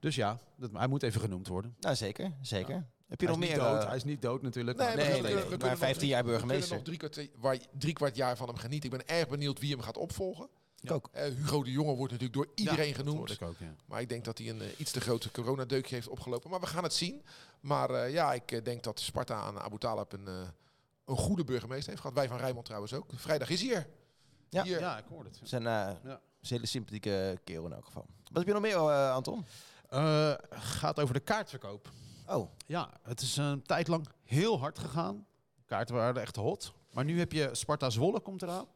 Dus ja, dat, hij moet even genoemd worden.
Nou, zeker, zeker. Heb je
Hij is,
nog
niet
meer?
dood,
eh,
hij is niet dood natuurlijk.
Nee,
maar-
we
nee,
kunnen-
nee, nee,
we kunnen
maar
nog-
15 jaar
We kunnen nog
burgemeester.
drie kwart, waar, drie kwart jaar van hem genieten. Ik ben erg benieuwd wie hem gaat opvolgen.
Ik ook.
Eh, Hugo de Jonge wordt natuurlijk door iedereen
Dat
genoemd.
hoorde ik ook, ja.
Maar ik denk dat hij een eh, iets te grote coronadeukje heeft opgelopen. Maar we gaan het zien. Maar eh, ja, ik eh, denk dat Sparta aan Abu Talib een, eh, een goede burgemeester heeft gehad. Wij van Rijnmond trouwens ook. Vrijdag is hier.
Ja.
Hier.
Ja, ik hoorde het.
Ze Zijn eh,
Ja.
is een hele sympathieke kerel in elk geval. Wat heb je nog meer, eh, Anton?
Eh, gaat over de kaartverkoop.
Oh,
Ja, het is een tijd lang heel hard gegaan. De kaarten waren echt hot. Maar nu heb je Sparta Zwolle komt eraan.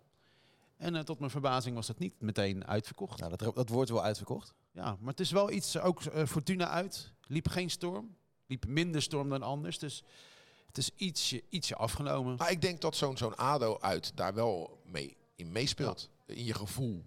En eh, tot mijn verbazing was dat niet meteen uitverkocht.
nou, dat, dat wordt wel uitverkocht.
Ja, maar het is wel iets, eh, ook eh, Fortuna uit. Liep geen storm. Liep minder storm dan anders. Dus het is ietsje, ietsje afgenomen.
Maar ik denk dat zo'n zo'n ADO uit daar wel mee in meespeelt. In je gevoel.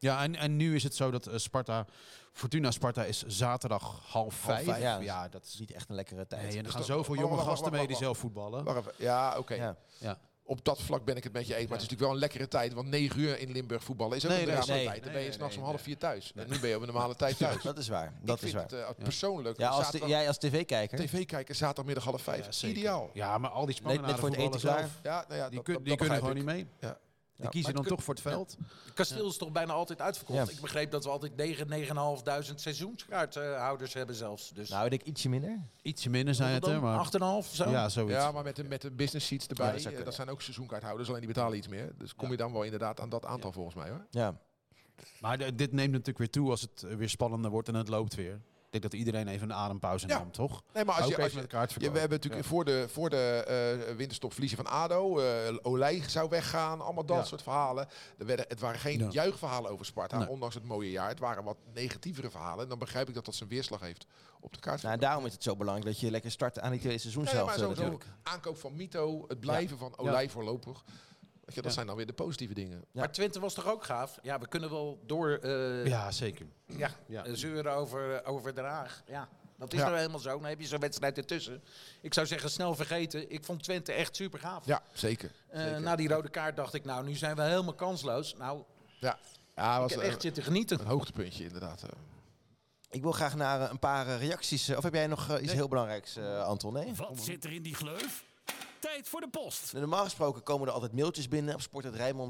Ja, en, en nu is het zo dat eh, Sparta, Fortuna Sparta is zaterdag half vijf.
vijf, ja.
dat is...
Niet echt een lekkere tijd. Dus
Nee, en er gaan
dat-
zoveel
wacht,
jonge
wacht,
gasten
wacht,
mee die
wacht,
zelf voetballen.
Wacht even. Ja, oké.
Ja.
Ja.
Op dat vlak ben ik het met je eens. Maar het is natuurlijk wel een lekkere tijd. Want 9 uur in Limburg voetballen is ook
Nee,
een
nee,
drama
nee.
tijd. Dan ben je
Nee,
s'nachts
nee,
om half
nee.
vier thuis. En nu ben je op een normale tijd thuis.
Dat is waar. Dat
ik
is
vind
waar.
het eh, persoonlijk.
Ja, als
zaterdag-
t- jij als tv-kijker.
TV-kijker zaterdagmiddag half vijf.
Ja, zeker.
Ideaal.
Ja, maar al die
Net,
Spanjaarden
net voor het eten
voetballen
klaar.
zelf.
Ja, nou ja,
Die,
dat-
kun-
dat-
die
dat
kunnen gewoon
begrijp
niet mee.
Ja.
Die kiezen dan toch voor het veld.
Het kasteel is toch bijna altijd uitverkocht.
Ja.
Ik begreep dat we altijd 9.500 seizoenskaarthouders hebben zelfs. Dus
Nou, ik denk ietsje minder.
Ietsje minder zijn het er, maar...
8,5 zo?
Ja,
ik.
zoiets.
Ja, maar met de, met de business seats erbij.
Ja,
eh,
dat
dat,
zou kunnen.
zijn ook seizoenkaarthouders, alleen die betalen iets meer. Dus kom je dan wel inderdaad aan dat aantal volgens mij hoor.
Ja.
Maar de- dit neemt natuurlijk weer toe als het eh, weer spannender wordt en het loopt weer. Ik denk dat iedereen even een adempauze
Ja.
nam, toch?
Nee, maar als
Ook
je,
even
als je-
met de kaartverkoop.
ja, we hebben natuurlijk voor de, voor de eh, winterstop verliezen van ADO. eh Olij zou weggaan. Allemaal dat
Ja.
soort verhalen. Er werden, het waren geen
Ja.
juichverhalen over Sparta.
Nee.
Ondanks het mooie jaar. Het waren wat negatievere verhalen. En dan begrijp ik dat dat zijn weerslag heeft op de kaart.
Nou, en daarom is het zo belangrijk dat je lekker start aan die tweede seizoen
Nee,
zelf.
maar
eh,
sowieso
natuurlijk.
aankoop van Mito, het blijven van Olij voorlopig. Weet je, dat
Ja.
zijn dan weer de positieve dingen.
Maar Twente was toch ook gaaf? Ja, we kunnen wel door eh, ja.
Ja, zeker. Ja.
eh, zeuren over, eh, over Den Haag. Ja, dat is
Ja.
nou helemaal zo. Dan heb je zo'n wedstrijd ertussen. Ik zou zeggen, snel vergeten. Ik vond Twente echt Eh, super gaaf.
Ja, zeker.
Eh, na die rode kaart dacht ik, nou, nu zijn we helemaal kansloos. Nou,
Ja. Ja,
Ik
was
heb
eh,
echt zitten genieten.
een hoogtepuntje inderdaad. eh.
Ik wil graag naar eh, een paar eh, reacties. eh, Of heb jij nog eh, iets heel belangrijks, eh, Anton? Nee?
Wat zit er in die gleuf? Tijd voor de post.
Normaal gesproken komen er altijd mailtjes binnen op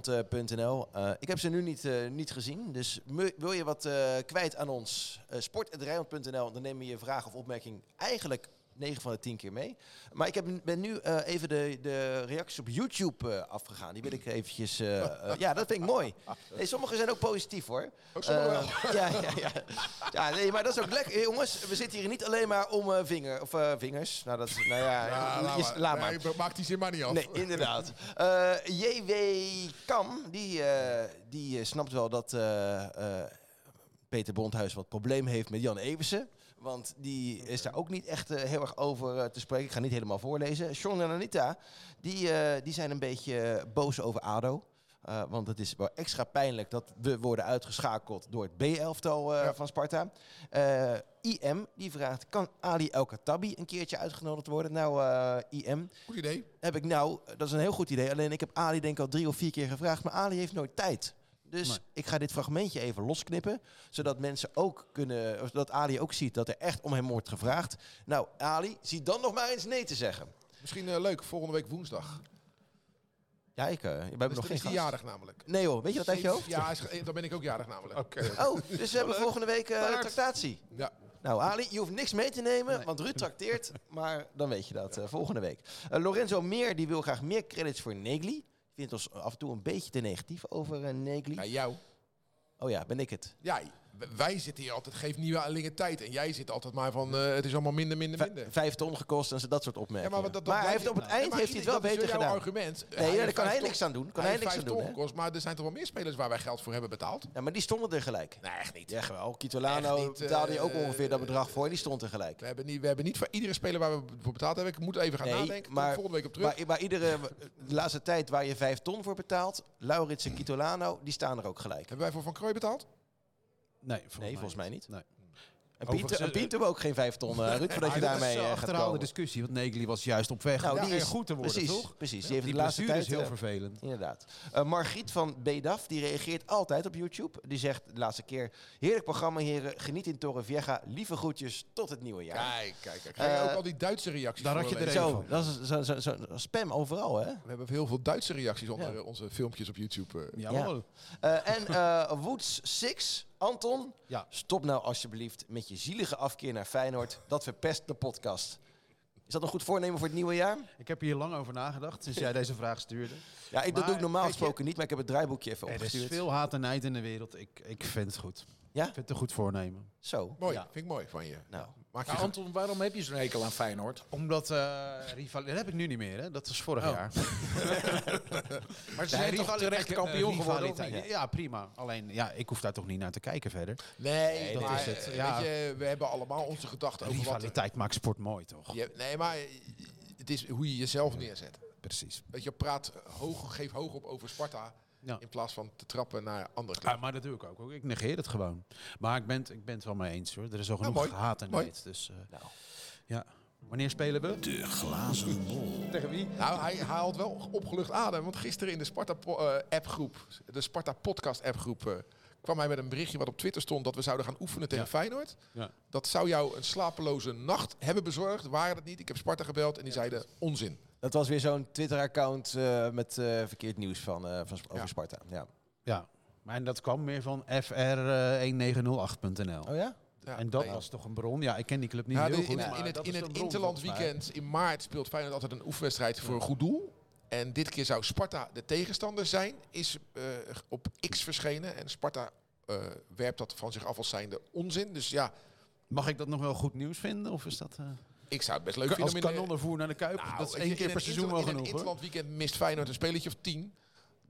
sport.rijnmond.nl. Eh, ik heb ze nu niet, eh, niet gezien. Dus me- wil je wat eh, kwijt aan ons? eh sport.rijnmond.nl. Dan nemen we je vraag of opmerking eigenlijk 9 van de 10 keer mee. Maar ik heb, ben nu eh, even de, de reacties op YouTube eh, afgegaan. Die wil ik eventjes... eh, eh, ja, dat vind ik mooi. Nee, sommige zijn ook positief hoor.
Ook sommige
Eh, ja, ja, ja. ja nee, maar dat is ook lekker. Eh, Jongens, we zitten hier niet alleen maar om eh, vinger, of, eh, vingers. Nou, dat is... Nou ja,
Ja,
je- je- laat maar.
Nee, maak die zin maar niet af.
Nee, inderdaad. Eh, JW Kam, die, eh, die eh, snapt wel dat eh, eh, Peter Bondhuis wat probleem heeft met Jan Eversen. Want die is daar ook niet echt eh, heel erg over eh, te spreken. Ik ga niet helemaal voorlezen. Sean en Anita, die, eh, die zijn een beetje eh, boos over ADO. Eh, want het is wel extra pijnlijk dat we worden uitgeschakeld door het B-elftal eh,
Ja.
van Sparta. Eh, IM, die vraagt, kan Ali El Khattabi een keertje uitgenodigd worden? Nou, eh, IM,
Goed idee.
heb ik nou, dat is een heel goed idee. Alleen ik heb Ali denk ik al drie of vier keer gevraagd, maar Ali heeft nooit tijd. Dus ik ga dit fragmentje even losknippen, zodat mensen ook kunnen, of zodat Ali ook ziet dat er echt om hem wordt gevraagd. Nou, Ali, zie dan nog maar eens nee te zeggen.
Misschien eh, leuk, volgende week woensdag.
Ja, ik, eh, we hebben
Dus
nog
dan
geen
is die
gast.
jarig namelijk.
Nee hoor, weet je dat uit je hoofd?
Ja, hij is ge- eh, dan ben ik ook jarig namelijk.
Oh, dus we hebben volgende week eh
Taart.
tractatie.
Ja.
Nou, Ali, je hoeft niks mee te nemen, want Ruud trakteert. Maar dan weet je dat eh, volgende week. Eh, Lorenzo Meer die wil graag meer credits voor Negli. Vindt ons af en toe een beetje te negatief over eh, Negli.
ja, jou.
Oh ja, ben ik het.
Ja, w- wij zitten hier altijd, geef nieuwelingen tijd. En jij zit altijd maar van, eh, het is allemaal minder, minder,
V-
minder.
vijf ton gekost en zo- dat soort opmerkingen.
wat dat- dat
hij
blijkt-
heeft op het
Nee,
eind
maar
heeft hij het wel
dat is
beter
weer jouw
gedaan.
argument.
Nee, ja,
heeft
daar kan
vijf
hij
ton-
niks aan doen. Kan
hij
hij
heeft
niks aan
vijf
doen.
ton
hè?
gekost, maar er zijn toch wel meer spelers waar wij geld voor hebben betaald?
Ja, maar die stonden er gelijk.
Nee, echt niet.
Ja, wel. Kitolano
Echt niet,
betaalde je ook
eh,
ongeveer dat bedrag voor en die stond er gelijk.
We hebben, niet, we hebben niet voor iedere speler waar we voor betaald hebben. Ik moet even gaan nadenken. Kom ik volgende week op terug.
Maar, maar iedere eh, de laatste tijd waar je vijf ton voor betaalt, Laurits en Kitolano, die staan er ook gelijk.
hebben wij voor Van Krooi betaald?
Nee, volgens,
Nee, volgens mij niet.
Nee.
En
Overigens,
Pieter, en
eh,
Pieter ook geen vijf ton, eh, Ruud, voordat je
dat is
daarmee
een
eh, gaat
achterhaalde
komen. Nou,
discussie, want Negli was juist op weg om weer goed te worden,
precies,
toch?
Precies, die heeft
Die
de laatste
blessure
tijd...
is heel
eh,
vervelend.
Inderdaad. Eh, Margriet van Bedaf, die reageert altijd op YouTube. Die zegt de laatste keer, heerlijk programma heren, geniet in Torrevieja. Lieve groetjes, tot het nieuwe jaar.
Kijk, kijk, kijk. Ga je
Eh,
ook al die Duitse reacties
daar had
vorige
je er
week?
zo, dat is zo, zo, zo, spam overal, hè?
We hebben heel veel Duitse reacties onder eh, onze filmpjes op YouTube. eh.
Ja,
Ja. Eh, en eh Woods 6, Anton,
Ja.
stop nou alsjeblieft met je zielige afkeer naar Feyenoord. Dat verpest de podcast. Is dat een goed voornemen voor het nieuwe jaar?
Ik heb hier lang over nagedacht sinds jij deze vraag stuurde.
Ja, ik, dat
Maar,
doe ik normaal
weet je-
gesproken niet, maar ik heb het draaiboekje even
Er is
opgestuurd.
veel haat en nijd in de wereld. Ik, ik vind het goed.
Ja?
Ik vind het een goed voornemen.
Zo.
Mooi,
Ja.
vind ik mooi van je.
Nou,
Maak je
Maar Anton, waarom heb je zo'n hekel aan Feyenoord?
Omdat eh rival... Dat heb ik nu niet meer, hè? Dat was vorig
Oh.
jaar.
Maar ze zijn toch terecht kampioen geworden? of niet?
Ja. ja, prima. Alleen, ja, ik hoef daar toch niet naar te kijken verder.
Nee,
dat
maar,
is het,
eh,
ja.
weet je, we hebben allemaal onze gedachten over wat...
Rivaliteit maakt sport mooi, toch?
Je, nee, maar eh, het is hoe je jezelf neerzet.
Precies.
Weet je, praat hoog, geef hoog op over Sparta.
Ja.
In plaats van te trappen naar andere
Ja,
clubs.
maar dat doe ik ook. hoor. Ik negeer het gewoon. Maar ik ben, het- ik ben het wel mee eens, hoor. Er is al genoeg
Nou, mooi.
gehaat en
Mooi.
nijd. Dus, eh, ja. Wanneer spelen we?
De glazen bol.
Tegen wie?
Nou, hij haalt wel opgelucht adem. Want gisteren in de Sparta-appgroep, de Sparta-podcast-appgroep, eh, kwam hij met een berichtje wat op Twitter stond dat we zouden gaan oefenen tegen
Ja.
Feyenoord.
Ja.
Dat zou jou een slapeloze nacht hebben bezorgd. Waren dat niet? Ik heb Sparta gebeld en die zeiden onzin.
dat was weer zo'n Twitter-account eh, met eh, verkeerd nieuws van, eh, van, over
Ja.
Sparta. Ja.
Ja. Maar en dat kwam meer van eh, fr1908.nl.
Oh ja?
Ja,
en dat
nee.
was toch een bron? Ja, ik ken die club niet
Ja,
heel
de-
goed.
in, in
maar
het,
dat
in
is
het
een bron,
Interland
volgens mij.
weekend in maart speelt Feyenoord altijd een oefenwedstrijd voor een goed doel. En dit keer zou Sparta de tegenstander zijn, is eh, op X verschenen. En Sparta eh, werpt dat van zich af als zijnde onzin. Dus ja,
Mag ik dat nog wel goed nieuws vinden? Of is dat... eh,
ik zou het best leuk
als
vinden om in de-
kanonnenvoer naar de Kuip?
Nou,
dat is
weet
één
je,
keer
in
per
een
seizoen
inter-
wel
In
genoeg,
het
hoor.
Interland weekend mist Feyenoord een spelletje of tien.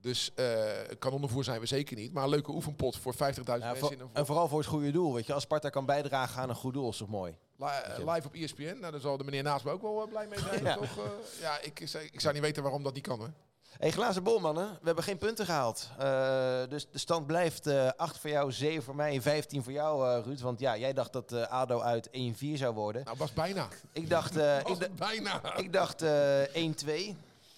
Dus eh kanonnenvoer zijn we zeker niet. Maar een leuke oefenpot voor 50.000
Ja,
mensen
voor-
in een
en vooral voor het goede doel. Weet je, als Sparta kan bijdragen aan een goed doel, is toch mooi?
li- eh, live op ESPN. Nou, daar zal de meneer naast me ook wel eh, blij mee zijn,
Ja.
toch? Eh, ja, ik, zou- ik zou niet weten waarom dat niet kan, hoor.
hey, glazen bol, mannen. We hebben geen punten gehaald. Eh, dus de stand blijft eh 8 voor jou, 7 voor mij, 15 voor jou, eh, Ruud. Want ja, jij dacht dat eh, ADO uit 1-4 zou worden.
Nou, was bijna.
Ik dacht, eh, ik,
Was
da-
bijna.
ik dacht eh, 1-2.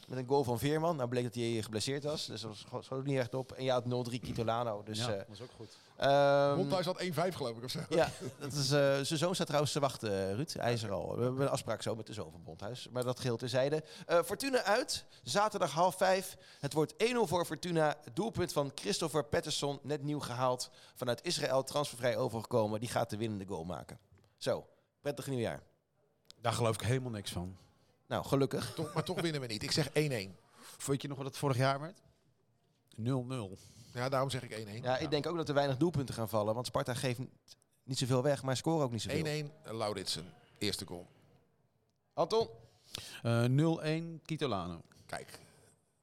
Met een goal van Veerman. Nou bleek dat hij geblesseerd was. Dus dat scho- schoot ook niet echt op. En ja, had 0-3 Kitolano. Dus,
Ja,
eh,
dat was ook goed.
ehm,
Monthuis had 1-5 geloof ik of zo.
ja, dat is, eh, zijn zoon staat trouwens te wachten, eh, Ruud. Hij is er al. We hebben een afspraak zo met de zoon van Bondhuis. Maar dat geheel terzijde. Eh Fortuna uit, zaterdag half vijf. Het wordt 1-0 voor Fortuna. Doelpunt van Christopher Patterson, net nieuw gehaald. Vanuit Israël, transfervrij overgekomen. Die gaat de winnende goal maken. Zo, prettig nieuwjaar.
Daar geloof ik helemaal niks van.
Nou, gelukkig.
Toch, maar toch winnen we niet. Ik zeg 1-1.
Weet je nog wat het vorig jaar werd? 0-0.
Ja, daarom zeg ik 1-1.
Ja, ik denk ook dat er weinig doelpunten gaan vallen. Want Sparta geeft n- niet zoveel weg, maar scoren ook niet zoveel.
1-1 eh, Lauritsen. Eerste goal.
Anton?
Eh, 0-1 Kitolano.
Kijk,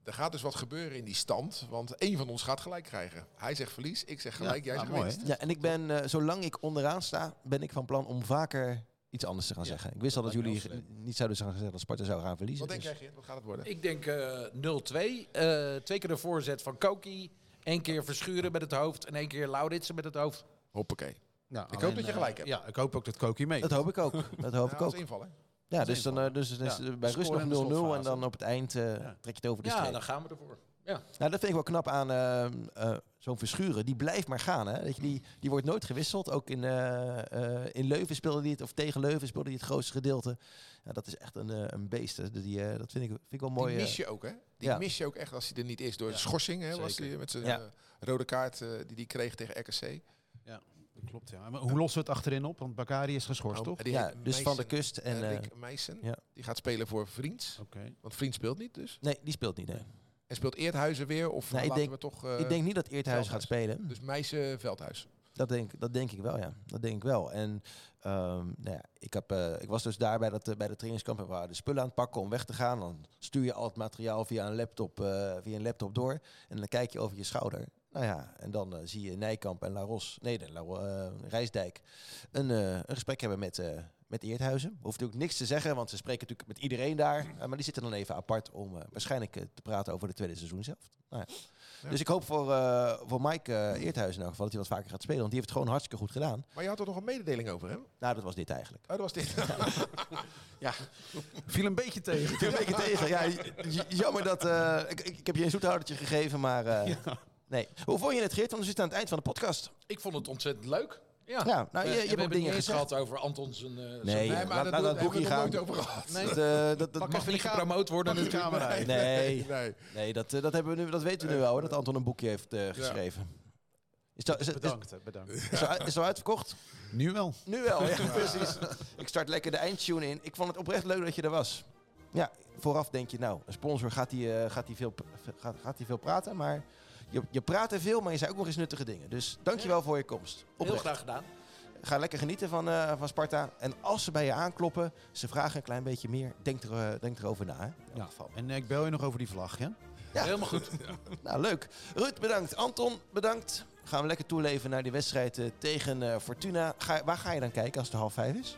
er gaat dus wat gebeuren in die stand. Want één van ons gaat gelijk krijgen. Hij zegt verlies, ik zeg gelijk, jij
nou,
zegt
mooi,
winst.
Ja, en ik ben, eh, zolang ik onderaan sta, ben ik van plan om vaker iets anders te gaan
Ja,
zeggen. Ik wist al dat
lijkt me
jullie
heel slim.
n- niet zouden gaan zeggen dat Sparta zou gaan verliezen.
Wat denk
dus-
jij, Geert? Wat gaat het worden?
Ik denk eh, 0-2. Eh, twee keer de voorzet van Koki. Eén keer Verschuren met het hoofd. En één keer Lauritsen met het hoofd.
Hoppakee.
Nou,
Ik hoop
alleen,
dat je
eh,
gelijk hebt.
Ja, ik hoop ook dat Koki mee.
Dat hoop ik ook. Dat hoop
Ja,
ik
als
ook.
invallen.
Ja,
als
dus dan, eh, dus, dan is
Ja,
het bij rust
scoren
nog
in de
0-0 en
slotfase.
dan op het eind eh, trek je het over de
Ja,
streep.
dan gaan we ervoor. Ja.
Nou, dat vind ik wel knap aan eh, eh, zo'n verschuren. Die blijft maar gaan. Hè? Weet je, die, die wordt nooit gewisseld. Ook in, eh, eh, in Leuven speelde hij het, of tegen Leuven speelde hij het grootste gedeelte. Ja, dat is echt een, eh, een beest. hè. Die, eh, dat vind ik, vind ik wel mooi.
Die
eh,
mis je ook, hè? Die
ja.
mis je ook echt als hij er niet is. Door de schorsing, hè? Was
zeker.
die met zijn
Ja.
eh, rode kaart eh, die hij kreeg tegen RKC.
Klopt, ja. Maar hoe lossen we het achterin op? Want Bakari is geschorst,
Nou,
toch?
Oh, die
ja,
heet
dus van de
Meissen.
kust. En,
Eh,
eh,
Rick Meissen,
ja.
die gaat spelen voor Vriends.
Oké.
Want Vriends speelt niet dus.
nee, die speelt niet. Nee.
En speelt Eerthuizen weer? Of
Nee, Nou, ik
laten
denk-
we toch... eh,
ik denk niet dat Eerthuis gaat
Veldhuis.
spelen.
Dus Meissen, Veldhuis.
Dat denk, dat denk ik wel, ja. Dat denk ik wel. En ehm, nou ja, ik, heb, eh, ik was dus daar bij, dat, eh, bij de trainingskamp en we waren de spullen aan het pakken om weg te gaan. Dan stuur je al het materiaal via een laptop, eh, via een laptop door. En dan kijk je over je schouder. Nou ja, en dan eh, zie je Nijkamp en Laros, nee, de La, eh, Rijsdijk, een, eh, een gesprek hebben met, eh met Eerthuizen. Hoeft natuurlijk niks te zeggen, want ze spreken natuurlijk met iedereen daar. Eh, maar die zitten dan even apart om eh, waarschijnlijk eh, te praten over de tweede seizoen zelf. Nou ja. Dus ik hoop voor, eh, voor Mike eh, Eerthuizen in elk geval dat hij wat vaker gaat spelen. Want die heeft het gewoon hartstikke goed gedaan.
Maar je had er nog een mededeling over, hè? Oh,
Nou, dat was dit eigenlijk.
dat was dit.
Viel een beetje tegen.
Ik ben een beetje tegen. Ja, j- j- jammer dat... eh, ik, ik ik heb je een zoethoudertje gegeven, maar... eh, Nee. Hoe vond je het, Geert? Want we zitten aan het eind van de podcast.
Ik vond het ontzettend leuk. Ja.
Ja,
Eh,
nou, je, je hebt
en we
ook
hebben
dingen
het niet eens
gezegd.
gehad over Anton zijn... eh, zijn-
Nee,
Nee,
laat-
maar
laat
dat,
dat
hebben
boekje
we nog
gaan.
nooit over gehad.
Nee.
Dat, eh, dat, dat
Mag even niet gepromoot worden in de camera.
Nee. Nee,
nee.
dat, eh, dat, hebben we nu, dat weten we nu wel, hoor, dat Anton een boekje heeft eh, geschreven. Is dat, is, is, is,
Bedankt, hè, bedankt.
is dat- is dat uitverkocht?
Nu wel.
Nu wel, ja, precies. Ik start lekker de eindtune in. Ik vond het oprecht leuk dat je er was. Ja, vooraf denk je, nou, een sponsor gaat die, eh, gaat die, veel, p- gaat, gaat die veel praten, maar je, je praat er veel, maar je zei ook nog eens nuttige dingen. Dus dankjewel voor je komst.
Heel
Oprecht.
graag gedaan.
Ga lekker genieten van, eh, van Sparta. En als ze bij je aankloppen, ze vragen een klein beetje meer, denk, er, eh, denk erover na. Hè? In elk
Ja.
geval.
En eh, ik bel je nog over die vlag, ja?
Ja.
Helemaal goed.
Nou, leuk. Ruud, bedankt. Anton, bedankt. Gaan we lekker toeleven naar die wedstrijd eh, tegen eh, Fortuna. Ga, waar ga je dan kijken als het half vijf is?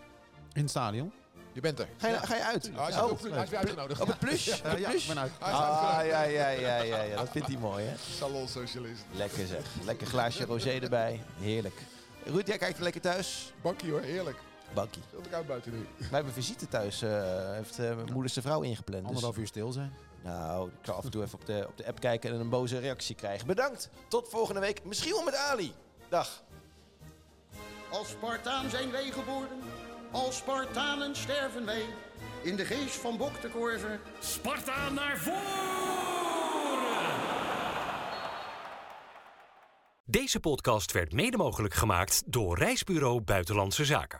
In het stadion.
Je bent er.
Ga je, ga je uit?
Ah, hij, is
Oh.
ook- hij is weer uitgenodigd.
Op het plus?
Eh,
Op het
ja,
plus?
ik ben uit.
Hij is
Ah,
uitgenodigd.
ja, ja, ja, ja, ja. Dat vindt hij mooi, hè?
Salonsocialist.
Lekker zeg. Lekker glaasje rosé erbij. Heerlijk. Ruud, jij kijkt lekker thuis.
Bakkie hoor, heerlijk.
Bankie.
Veel te koud buiten nu.
Wij hebben visite thuis. eh, heeft eh, mijn moeders de vrouw ingepland. Dus,
Anderhalf uur stil zijn.
nou, ik zal af en toe even op de, op de app kijken en een boze reactie krijgen. Bedankt. Tot volgende week. Misschien wel met Ali. Dag.
Als Spartaan zijn wij geboren, als Spartanen sterven wij. In de geest van Bok de Korver
Sparta naar voren!
Deze podcast werd mede mogelijk gemaakt door Reisbureau Buitenlandse Zaken.